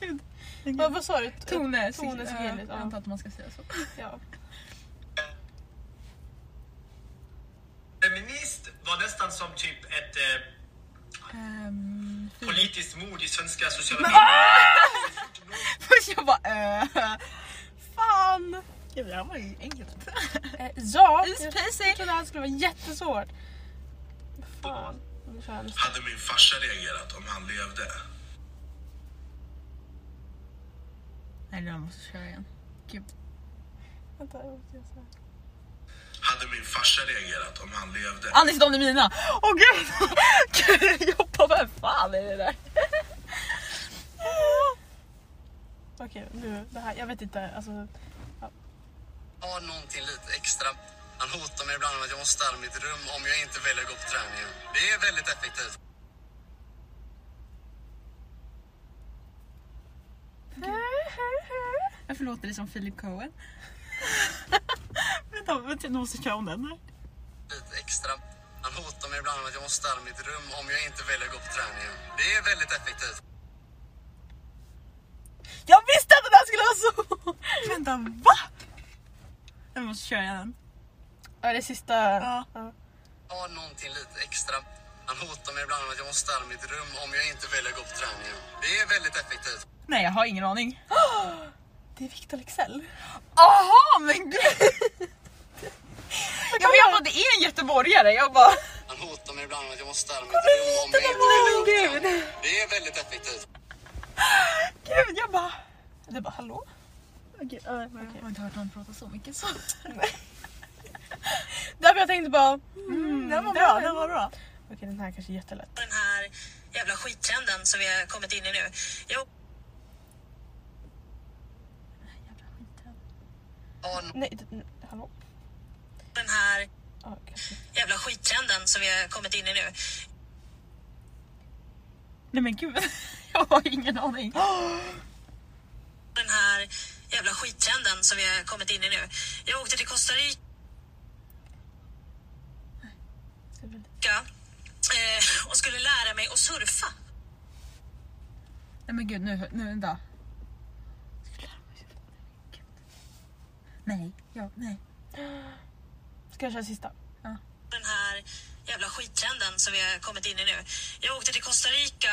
B: Gud. Ja, vad sa du?
C: Tone,
B: Tone
C: ja,
B: Sigelius,
C: Jag
B: ja.
C: antar att man ska säga så.
B: Ja.
H: Feminist var nästan som typ ett eh,
C: Um,
H: politiskt mord i svenska sociala medier.
C: först jag bara, eh.
B: Fan!
C: Gud det här var ju enkelt.
B: Eh, ja,
C: It's
B: jag
C: peasy.
B: trodde det här skulle vara jättesvårt. Fan. Nu kör jag nästa.
G: Hade min farsa reagerat om han levde?
C: Nej jag måste köra igen. Gud.
B: Vänta, jag måste göra så här.
G: Hade min farsa reagerat om han levde?
C: Anis Don Demina! Åh gud! gud! Jag bara, vem fan är det där?
B: Okej, nu, det här, jag vet inte. Alltså,
E: har någonting lite extra. Han hotar mig ibland med att jag måste ställa mitt rum om jag inte väljer att gå på träningen. Det är väldigt effektivt.
C: Varför låter det som Philip Cohen? vänta, vänta, någon som kan den här.
E: lite extra. Han hotar mig ibland med att jag måste städa mitt rum om jag inte väljer att gå på träningen. Det är väldigt effektivt.
B: Jag visste att det där skulle vara så!
C: Vänta, va? Jag måste köra den.
B: Ja, det sista...
C: Ja.
E: ha någonting lite extra. Han hotar mig ibland med att jag måste städa mitt rum om jag inte väljer att gå på träningen. Det är väldigt effektivt.
C: Nej, jag har ingen aning.
B: Det är Victor Leksell.
C: Aha, men gud! jag vet att det är en göteborgare, jag bara...
E: Han hotar mig ibland med att jag måste städa mitt rum om jag inte väljer att gå på träningen. Det är väldigt effektivt.
C: Gud, jag bara...
B: Du bara hallå?
C: Jag har inte hört någon prata så mycket så.
B: Därför jag tänkte bara... Mm,
C: den var bra, den var
B: bra. Okej den här kanske är jättelätt.
I: den här jävla skittrenden som vi har kommit in i nu. Jag
E: Ha någonting
B: Nej, d- n- hallå?
I: den här
B: Ja, kanske.
I: jävla skittrenden som vi har kommit in i nu.
C: Nej men gud, jag har ingen aning.
I: Den här jävla skittrenden som vi har kommit in i nu. Jag åkte till Costa Rica eh, och skulle lära mig att surfa.
C: Nej men gud, nu, nu vänta. Nej, ja, nej.
B: Ska jag köra sista?
I: Den här jävla skittrenden som vi har kommit in i nu. Jag åkte till Costa Rica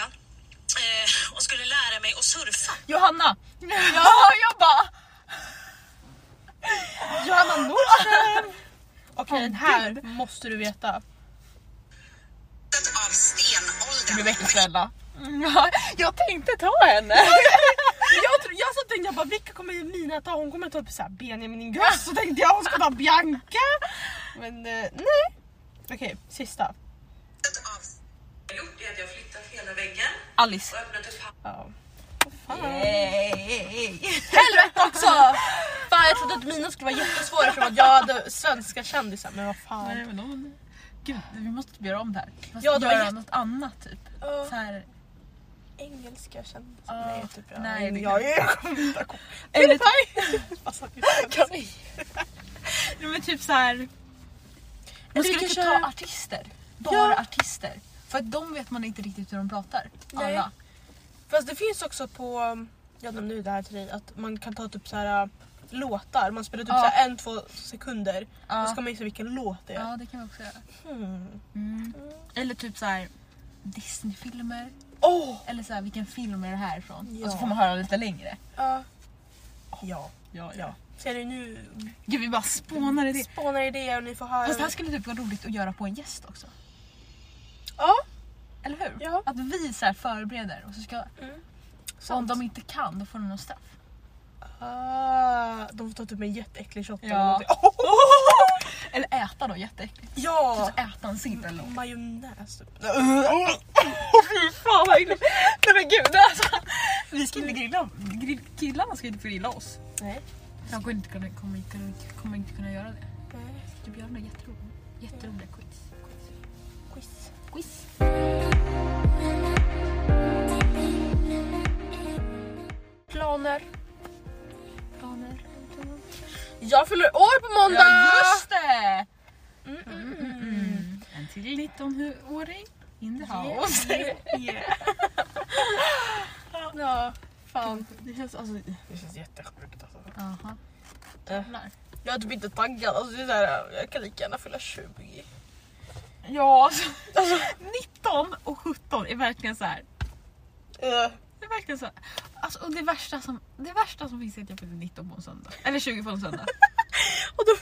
I: eh, och skulle lära mig att surfa.
C: Johanna! Ja, jag bara...
B: Johanna Nordström! typ- Okej den här måste du veta.
I: Av stenåldern.
B: Du väcker Stella.
C: Ja, jag tänkte ta henne.
B: Jag, tro- jag så tänkte jag bara vilka kommer Mina ta? Hon kommer ta upp så här Benjamin Ingrosso så tänkte jag hon ska ta Bianca. Men eh, nej. Okej sista.
I: gjort är att jag har flyttat hela väggen
C: Alice.
I: och öppnat upp
B: Ja.
C: Helvete också!
B: Fan jag trodde att mina skulle vara jättesvåra eftersom att jag hade svenska kändisar men vad
C: Nej,
B: fan.
C: men de, gud, vi måste typ göra om det här. Vi måste
B: Ja, det var
C: göra
B: jätte-
C: något annat typ. Så här,
B: Engelska kändisar?
C: Ja.
B: nej typ jag.
C: Nej, det
B: jag,
C: kan-
B: jag kommer inte ihåg.
C: eller,
B: Alltså,
C: nej, men typ så här. Man
B: vi
C: skulle
B: kan
C: typ
B: köra-
C: ta artister. Bara
B: Ja.
C: artister. För att de vet man inte riktigt hur de pratar.
B: Nej.
C: Alla.
B: Fast det finns också på, um, jag nämnde ju det här till dig, att man kan ta typ så här uh, låtar. Man spelar typ
C: Ja.
B: så här en, två sekunder
C: Ja.
B: och så ska man gissa vilken låt det är.
C: Ja, det kan vi också göra.
B: Hmm.
C: Mm. Eller typ så här Disney-filmer.
B: Åh!
C: Eller så här, vilken film är det här ifrån?
B: Ja.
C: Och så får man höra lite längre.
B: Ja. Ja.
C: Ja,
B: ja. Ser ni nu
C: Gud, vi bara spånar i det.
B: spånar idéer och ni får höra.
C: Fast det här skulle typ vara roligt att göra på en gäst också.
B: Ja.
C: Eller hur?
B: Ja.
C: Att vi så här förbereder och så ska... Och om de inte kan då får de någon straff.
B: Ah, de får ta typ en jätteäcklig shot eller
C: Ja.
B: någonting. Åh!
C: Eller äta då jätteäckligt.
B: Ja!
C: Så äta en sill eller något.
B: Majonnäs typ.
C: Fan vad äckligt. Nej men gud alltså. Vi ska inte grilla. grill- Killarna ska inte få grilla oss.
B: Nej.
C: De kommer inte kunna, kommer inte, kunna- kommer inte kunna göra det.
B: Nej.
C: Du Björn är jätterolig. Jätteroliga quiz.
B: Quiz.
C: Quiz.
B: Planer.
C: Planer.
B: Jag fyller år på måndag!
C: Ja just det! En till 19-åring in the house.
B: Ja, fan. Det känns, alltså, det känns jättesjukt alltså.
C: Aha. Äh.
B: Jag är typ inte taggad. Alltså, det är så här, jag kan lika gärna fylla 20.
C: Ja, alltså, 19 och 17 är verkligen så här.
B: Eh,
C: Det är verkligen så här. Alltså, och det, värsta som, det värsta som finns är att jag fyller 19 på en söndag. Eller 20 på en söndag.
B: och då,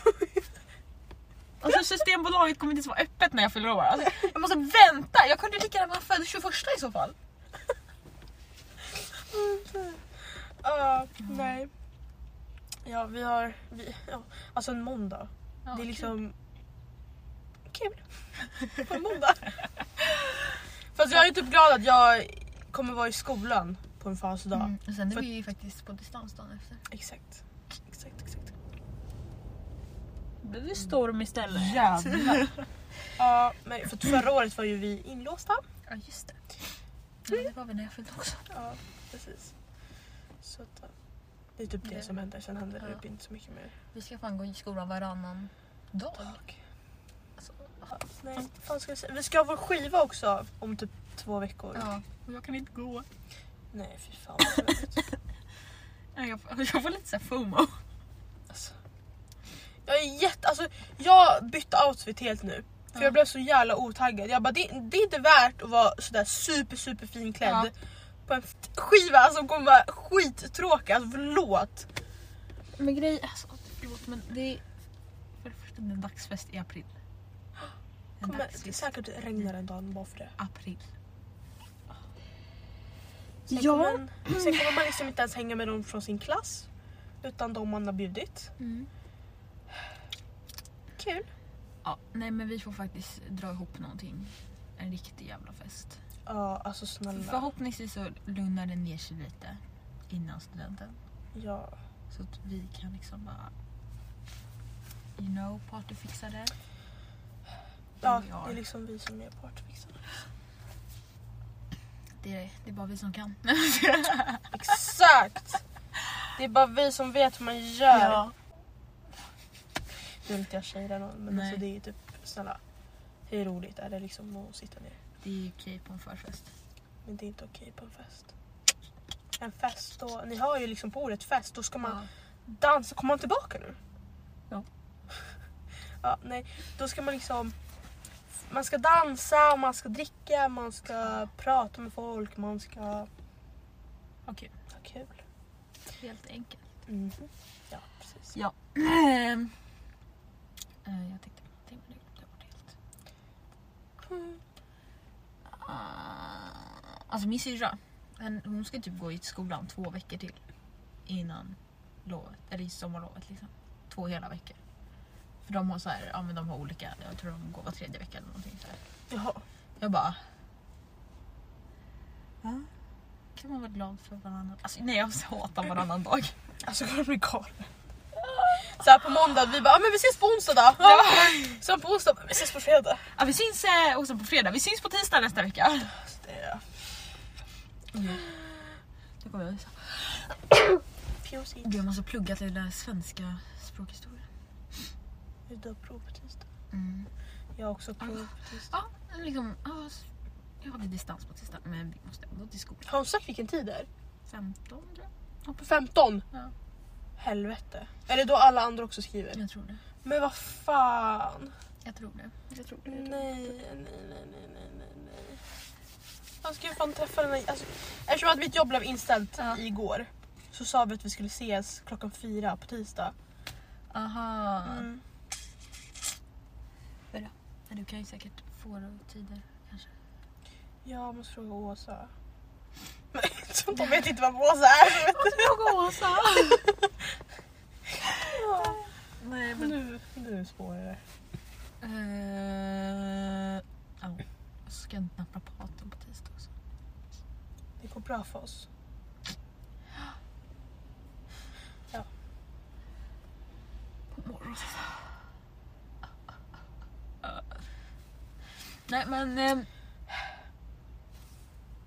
C: Alltså, systembolaget kommer inte ens vara öppet när jag fyller år. Alltså, jag måste vänta, jag kunde lika gärna vara född 21 i så fall.
B: Ja, nej. Ja, vi har... Vi, ja, alltså en måndag. det
C: Ja,
B: är
C: kul.
B: liksom... Kul. På en måndag. Fast jag är typ glad att jag kommer vara i skolan på en födelsedag.
C: Mm, och sen
B: För-
C: är vi ju faktiskt på distans dagen efter.
B: Exakt. Exakt, exakt.
C: Blir det storm istället?
B: Ja, men för att förra året var ju vi inlåsta.
C: Ja just det. Ja, det var väl när jag fyllde också.
B: Ja, precis. Så att, Det är typ det
C: Det-
B: som händer, sen händer det
C: Ja.
B: typ inte så mycket mer.
C: Vi ska fan gå i skolan varannan dag.
B: Dag. Alltså, Nej, vad fan ska vi säga? Vi ska ha vår skiva också om typ två veckor.
C: Ja. Och jag kan inte gå.
B: Nej fy fan vad trögt.
C: Nej, Jag får, jag får lite såhär fomo.
B: alltså. Jag är jätte... Alltså jag bytte outfit helt nu. För
C: Ja.
B: jag blev så jävla otaggad. Jag bara det, det är inte värt att vara sådär super super finklädd.
C: Ja.
B: På en f- skiva, alltså kommer vara skittråkig. Alltså förlåt.
C: Men grej, alltså förlåt men det är... För det första, det är dagsfest i april. En
B: Kommer, det
C: dagsfest
B: säkert regnar en dag bara för det.
C: i april.
B: Sen,
C: Ja.
B: kommer, man- sen kommer man liksom inte ens hänga med dem från sin klass. Utan de man har bjudit.
C: Mm.
B: Kul.
C: Ja, nej men vi får faktiskt dra ihop någonting. En riktig jävla fest.
B: Ja, alltså snälla.
C: Förhoppningsvis så lugnar det ner sig lite innan studenten.
B: Ja.
C: Så att vi kan liksom bara... You know, partyfixare.
B: Ja,
C: Ja.
B: det är liksom vi som är liksom. partfixarna.
C: Det är, det är bara vi som kan.
B: Exakt! Det är bara vi som vet hur man gör. Nu är inte jag tjej där någon, men
C: Nej.
B: alltså det är ju typ snälla. Hur roligt är det liksom att sitta ner?
C: Det är okej på en förfest.
B: Men det är inte okej på en fest. En fest då, ni hör ju liksom på ordet fest, då ska man dansa. Kommer han tillbaka nu?
C: Ja.
B: ja, nej. Då ska man liksom... Man ska dansa, man ska dricka, man ska prata med folk, man ska ha
C: Okej,
B: kul.
C: helt enkelt.
B: Mhm. Ja, precis.
C: Ja. Ehm, eh, jag tänkte på någonting men det glömde jag bort helt. Mm. Ah, alltså min syrra, hen- hon ska typ gå i skolan två veckor till. Innan lovet, eller i sommarlovet liksom. Två hela veckor. För de har så här, ja men de har olika, jag tror de går var tredje vecka eller någonting så här.
B: Jaha.
C: Jag bara... Va? Kan man vara glad för varannan? Alltså, nej jag hatar varannan dag.
B: Alltså jag kommer bli galen. Såhär på måndag, vi bara "Ja, men vi ses på onsdag då. Ja. Sen på onsdag, "Ah, vi ses på fredag.
C: Ja, vi syns eh, också på fredag, vi syns på tisdag nästa vecka.
B: Alltså, det är
C: Det kommer jag visa.
B: fjosigt.
C: Gud, jag måste plugga till det där svenska språkhistorien.
B: Jag har prov på tisdag.
C: Mm.
B: Jag har också prov på tisdag.
C: Ja, men liksom, ja, s- jag hade distans på tisdag men vi måste ändå till skolan.
B: Har hon sagt vilken tid det är?
C: 15 tror jag.
B: På 15?
C: Ja.
B: Helvete. Är det då alla andra också skriver?
C: Jag tror det.
B: Men vad fan.
C: Jag tror det. Jag tror
B: Nej, nej, nej, nej, nej, nej, nej. Jag ska ju fan träffa den här... Alltså, eftersom att mitt jobb blev inställt
C: Ja.
B: igår så sa vi att vi skulle ses klockan fyra på tisdag.
C: Aha.
B: Mm.
C: Men du kan ju säkert få det och tider kanske.
B: Jag måste fråga Åsa. Men de vet inte vad Åsa är.
C: Fråga Åsa! Nej men...
B: Nu, nu spårar det.
C: Eh, Ja. Och så ska jag nappa paten på tisdag också.
B: Det går bra för oss.
C: På morgonen. Nej men... ehm,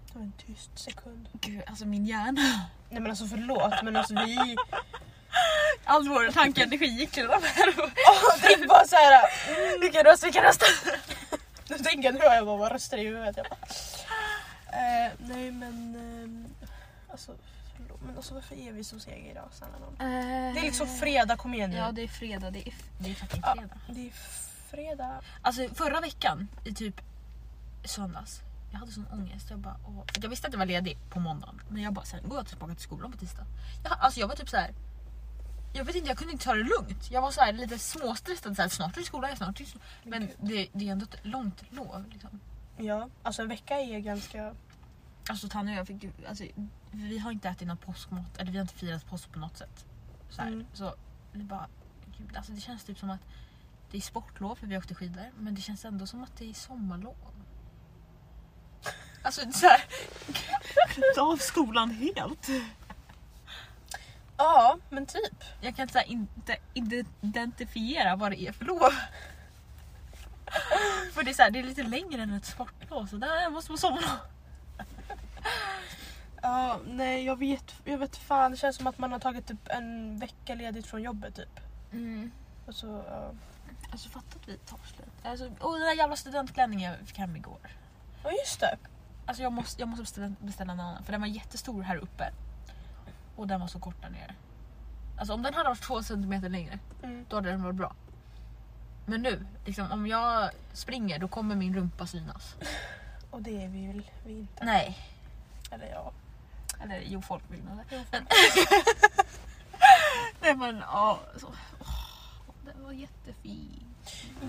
B: Det var en tyst sekund.
C: Gud, alltså min hjärna.
B: Nej men alltså förlåt men alltså vi...
C: All vår tankeenergi gick till de här.
B: Tänk bara såhär...
C: Vilken röst, vilken röst!
B: Nu tänker jag nu har jag bara vad röster i huvudet. Jag bara. Eh, nej men... ehm, alltså förlåt. Men alltså varför är vi så sega idag snälla nån? Det är liksom fredag, kom igen nu.
C: Eh, Ja det är fredag, det är, f- det är fucking
B: Ja.
C: fredag.
B: Det är fredag.
C: Alltså förra veckan i typ söndags. Jag hade sån ångest. Jag, bara, åh. För jag visste att jag var ledig på måndagen. Men jag bara, sen går jag tillbaka till skolan på tisdag. Jag, alltså jag var typ så här. Jag vet inte, jag kunde inte ta det lugnt. Jag var så här lite småstressad. Så här, snart är det skola, snart är det skola. Men det, det är ändå ett långt lov. Liksom.
B: Ja, alltså en vecka är ganska...
C: Alltså Tanja och jag fick ju, alltså, vi har inte ätit någon påskmat, eller vi har inte firat påsk på något sätt. Så, här.
B: Mm.
C: så vi bara, gud, alltså, det känns typ som att det är sportlov för vi åkte skidor, men det känns ändå som att det är sommarlov. Alltså såhär... Klippt av skolan helt.
B: Ja, men typ.
C: Jag kan så här, inte ide- identifiera vad det är för lov. För det är, så här, det är lite längre än ett sportlov, så där måste vara sommarlov.
B: Ja, Ja, nej jag vet, jag vet fan. Det känns som att man har tagit typ en vecka ledigt från jobbet typ.
C: Mm.
B: Och så, ja.
C: Alltså fatta att vi tar slut. Alltså, och den där jävla studentklänningen jag fick hem igår.
B: ja just det.
C: Alltså jag måste, jag måste beställa, beställa en annan för den var jättestor här uppe. Och den var så kort där nere. Alltså om den hade varit två centimeter längre,
B: Mm.
C: då hade den varit bra. Men nu, liksom, om jag springer då kommer min rumpa synas.
B: Och det vill vi inte.
C: Nej.
B: Eller ja.
C: Eller jo, folk vill nog det. Men- Nej men ja. Så. Åh, den var jättefin.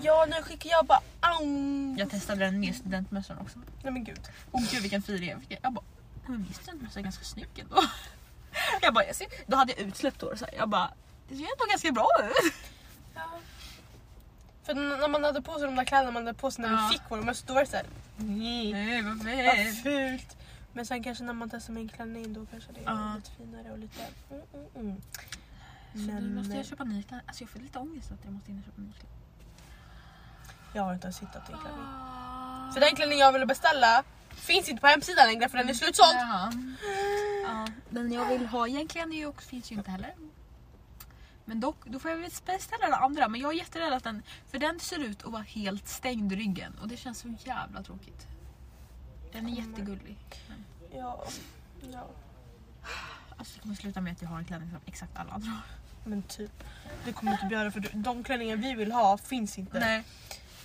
B: Ja nu skickar jag bara Aum.
C: Jag testade den med studentmössan också.
B: Nej men gud.
C: Åh gud vilken fin jag fick. Jag bara, "Nej, men visst är den så ganska snygg ändå. Jag bara, jag ser, då hade jag utsläppt hår så här. jag bara, det ser ändå ganska bra ut.
B: För n- när man hade på sig de där kläderna man hade på sig när
C: Ja.
B: vi fick våra mössor då var det såhär nej
C: Nej vad
B: vad fult. Men sen kanske när man testar med en klänning då kanske det är
C: Ja.
B: lite finare och lite mm, mm, mm.
C: Så
B: Men-
C: nu måste jag köpa ny klänning. Alltså jag får lite ångest att jag måste hinna köpa ny klänning.
B: eh, Jag har inte ens hittat en klänning.
C: Ah.
B: Så den klänning jag ville beställa finns inte på hemsidan längre för den är slutsåld.
C: Jaha. Ja, den jag vill ha egentligen är ju också, finns ju inte heller. Men dock, då får jag väl beställa den andra. Men jag är jätterädd att den, för den ser ut att vara helt stängd i ryggen och det känns så jävla tråkigt. Den är jättegullig.
B: Ja. ja.
C: Alltså det kommer sluta med att jag har en klänning som exakt alla andra har.
B: Men typ. Det kommer inte bli göra för du- de klänningar vi vill ha finns inte.
C: Nej.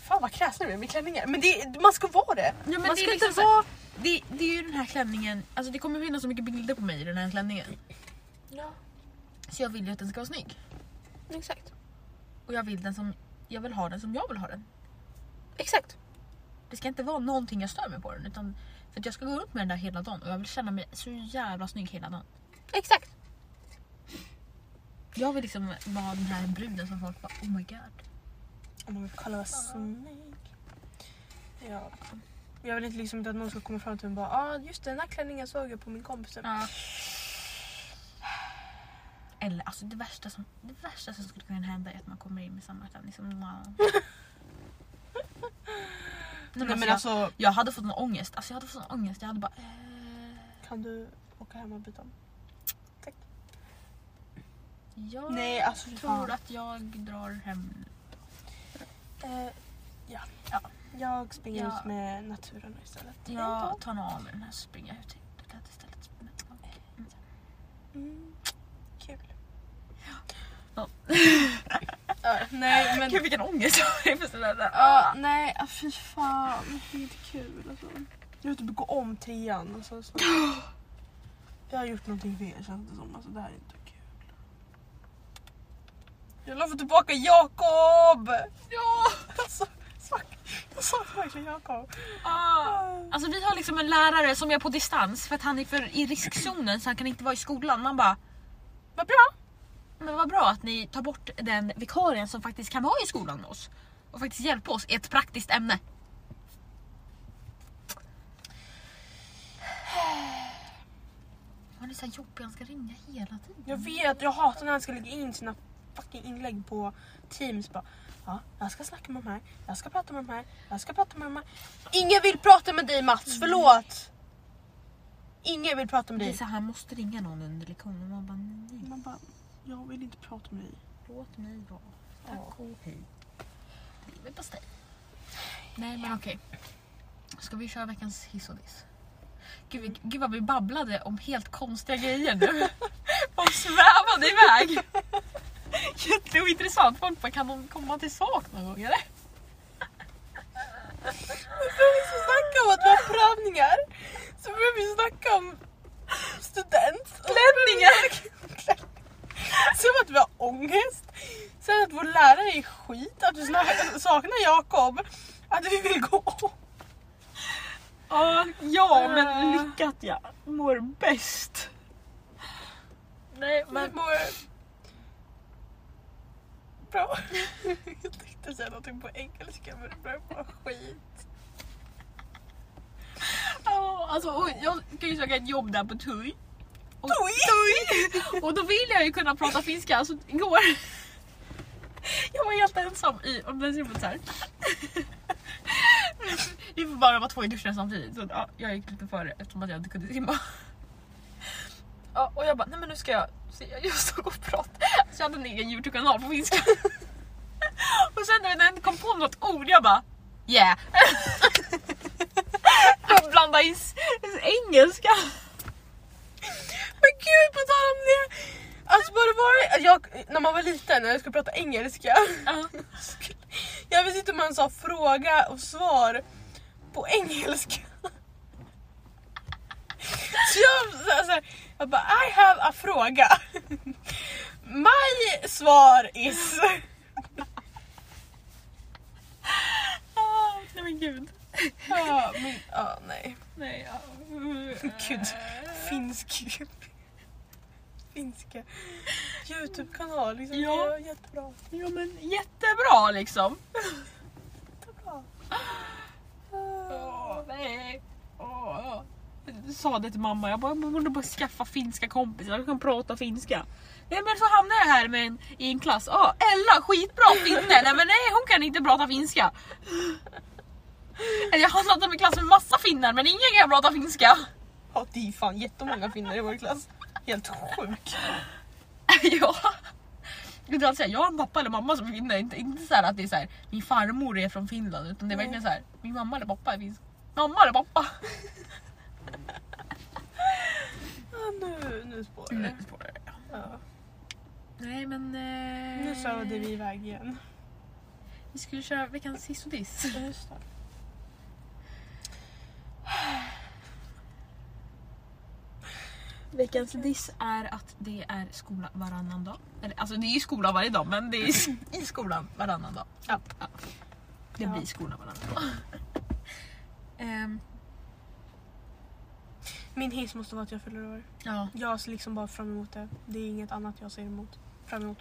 B: Fan vad kräsna vi är med klänningar. Men det, man ska vara det.
C: Ja, men
B: man
C: det är
B: ska
C: liksom
B: inte
C: så här-
B: vara...
C: Det, det är ju den här klänningen, alltså det kommer finnas så mycket bilder på mig i den här klänningen.
B: Ja,
C: Så jag vill ju att den ska vara snygg.
B: exakt.
C: Och jag vill, den som, jag vill ha den som jag vill ha den.
B: Exakt.
C: Det ska inte vara någonting jag stör mig på den. Utan för att jag ska gå runt med den där hela dagen och jag vill känna mig så jävla snygg hela dagen.
B: Exakt.
C: Jag vill liksom vara den här bruden som folk bara oh my god.
B: Om man vill kolla vad snygg. Ja. Jag vill inte liksom inte att någon ska komma fram till mig och bara ah, just den här klänningen såg jag på min kompis.
C: Ja. Eller alltså det värsta, som, det värsta som skulle kunna hända är att man kommer in med samma klänning som någon annan. Nej, men alltså, jag, jag hade fått någon ångest. Alltså, jag hade fått någon ångest. Jag hade bara... Eh,
B: kan du åka hem och byta om?
C: jag
B: Nej, alltså, fy
C: tror
B: fan.
C: att jag drar hem nu.
B: Eh, ja. ja. Jag springer
C: Ja.
B: ut med naturen istället.
C: Jag tar nog av mig den här så springer jag ut. Jag kan inte ställa ett spel. Okej.
B: Mm. Kul.
C: Ja.
B: Ja, nej men...
C: Gud vilken ångest jag har inför sådana där.
B: Ja, nej ah, fy fan. Det är inte kul alltså. Jag vill typ gå om trean. Alltså, så. Jag har gjort någonting fel känns det som. Alltså, det här är inte kul. Jag la få tillbaka Jakob! Ja! Alltså, fuck. Jag saknar verkligen Jakob.
C: Ah. Alltså vi har liksom en lärare som är på distans för att han är för i riskzonen så han kan inte vara i skolan. Man bara, vad bra. Men vad bra att ni tar bort den vikarien som faktiskt kan vara i skolan med oss och faktiskt hjälpa oss i ett praktiskt ämne. Han är så här jobbig, han ska ringa hela tiden.
B: Jag vet, jag hatar när han ska lägga in sina fucking inlägg på Teams. Bara, ja, jag ska snacka med de här, jag ska prata med de här, jag ska prata med de här. Ingen vill prata med dig Mats, förlåt! Ingen vill prata med
C: Det är
B: dig.
C: så här, han måste ringa någon under lektionen och man bara nej,
B: Man bara, jag vill inte prata med dig.
C: låt mig vara. Tack och hej. Lever pastej. Nej men okej. Ska vi köra veckans hiss och diss? Gud, vi- gud vad vi babblade om helt konstiga grejer nu. Folk svävade iväg. Jätteointressant. Folk bara, kan de komma till sak någon gång eller?
B: Vi snackade om att vi har prövningar. Så började vi snacka om studentklänningar. Som att vi har ångest. Sen att vår lärare är skit, att vi snak- saknar Jakob. Att vi vill gå om.
C: Ja men
B: Ah.
C: lyckat jag mår bäst. Nej
B: Vi
C: men
B: mår... Bra. Jag tänkte säga någonting på engelska men det blev bara skit.
C: Ja, alltså, och jag ska ju söka ett jobb där på TUI. Och, TUI! och då vill jag ju kunna prata finska. Så igår... Jag var helt ensam i om den rummet såhär. Vi får bara vara två i duschen samtidigt. Så, ja, jag gick lite före eftersom att jag inte kunde simma. Ja, och jag bara, nej men nu ska jag... Så jag, jag stod och pratade. Så jag hade en egen Youtube-kanal på finska. och sen när jag inte kom på något ord, jag bara yeah. jag blandade in s- engelska.
B: Men gud på tal om det! Alltså bara var jag, när man var liten när jag skulle prata engelska. Jag visste inte om man sa fråga och svar på engelska. Så jag, så här- så här, jag bara I have a fråga. My svar is...
C: Ah, nej men gud.
B: Ja, men, ja, nej.
C: Nej, ja.
B: Gud, finsk. Finska. Youtube-kanal, liksom.
C: Ja.
B: det är jättebra.
C: ja men jättebra liksom.
B: jättebra.
C: Åh, nej. Åh. Jag sa det till mamma, jag bara, jag borde bara skaffa finska kompisar som kan prata finska. Nej men så hamnade jag här med en, i en klass, Åh, Ella skitbra finne, nej men nej hon kan inte prata finska. Eller Jag har hamnat i en klass med massa finnar men ingen kan prata finska.
B: Ja, det är fan jättemånga finnar i vår klass. Helt sjukt.
C: ja. Jag, alltså, jag har en pappa eller mamma som är finne, inte, inte så här att det är så här, min farmor är från Finland utan det är verkligen så här, min mamma eller pappa är finsk. Mamma eller pappa.
B: Ja, nu, nu spårar det. Ja.
C: Nej men... Eh...
B: Nu sövde vi iväg igen.
C: Vi skulle köra veckans hiss och diss. Veckans diss är att det är skola varannan dag. Eller, alltså det är ju skola varje dag men det är i skolan varannan dag.
B: Ja.
C: Det
B: Ja.
C: blir skola varannan dag. Ehm,
B: Min hiss måste vara att jag fyller år.
C: ja.
B: Jag ser liksom bara fram emot det. Det är inget annat jag ser emot. Fram emot.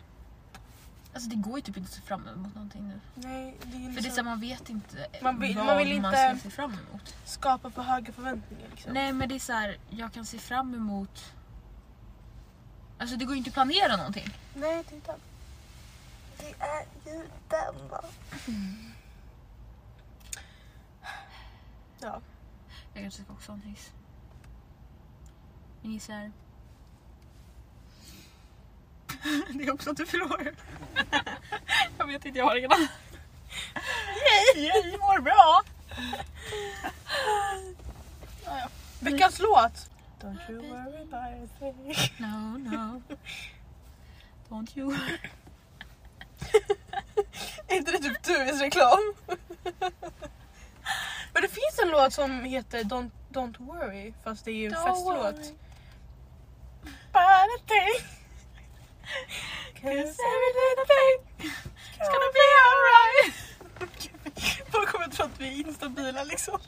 C: Alltså det går ju typ inte att se fram emot någonting nu.
B: Nej, det är liksom...
C: För det är så här, man vet inte
B: Man vill-
C: vad
B: man vill
C: ska
B: inte-
C: se fram emot.
B: Skapa för höga förväntningar liksom.
C: Nej men det är så här, jag kan se fram emot... Alltså det går ju inte att planera någonting.
B: Nej, det är den. Det är ju den va. Ja.
C: Jag kanske ska också ha en hiss. Min hiss är... det är också att du förlorar. jag vet inte, jag har ingen annan. Yay! Yay, mår bra!
B: Veckans låt! Don't you worry about a thing.
C: No, no. Don't you...
B: Är inte det typ Tuves reklam? Men det finns en låt som heter Don't, Don't worry fast det är ju en festlåt. Bara tänk. Cause every little thing is gonna be alright. Folk kommer tro att vi är instabila liksom.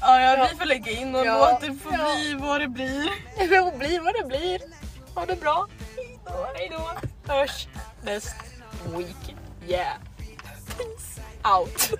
B: ja, ja, vi får lägga in någon
D: Ja.
B: låt. Det får
D: Ja.
B: bli vad det blir.
D: Det får bli vad det blir. Ha det bra. Hejdå. Hörs nästa week. Yeah. Peace out.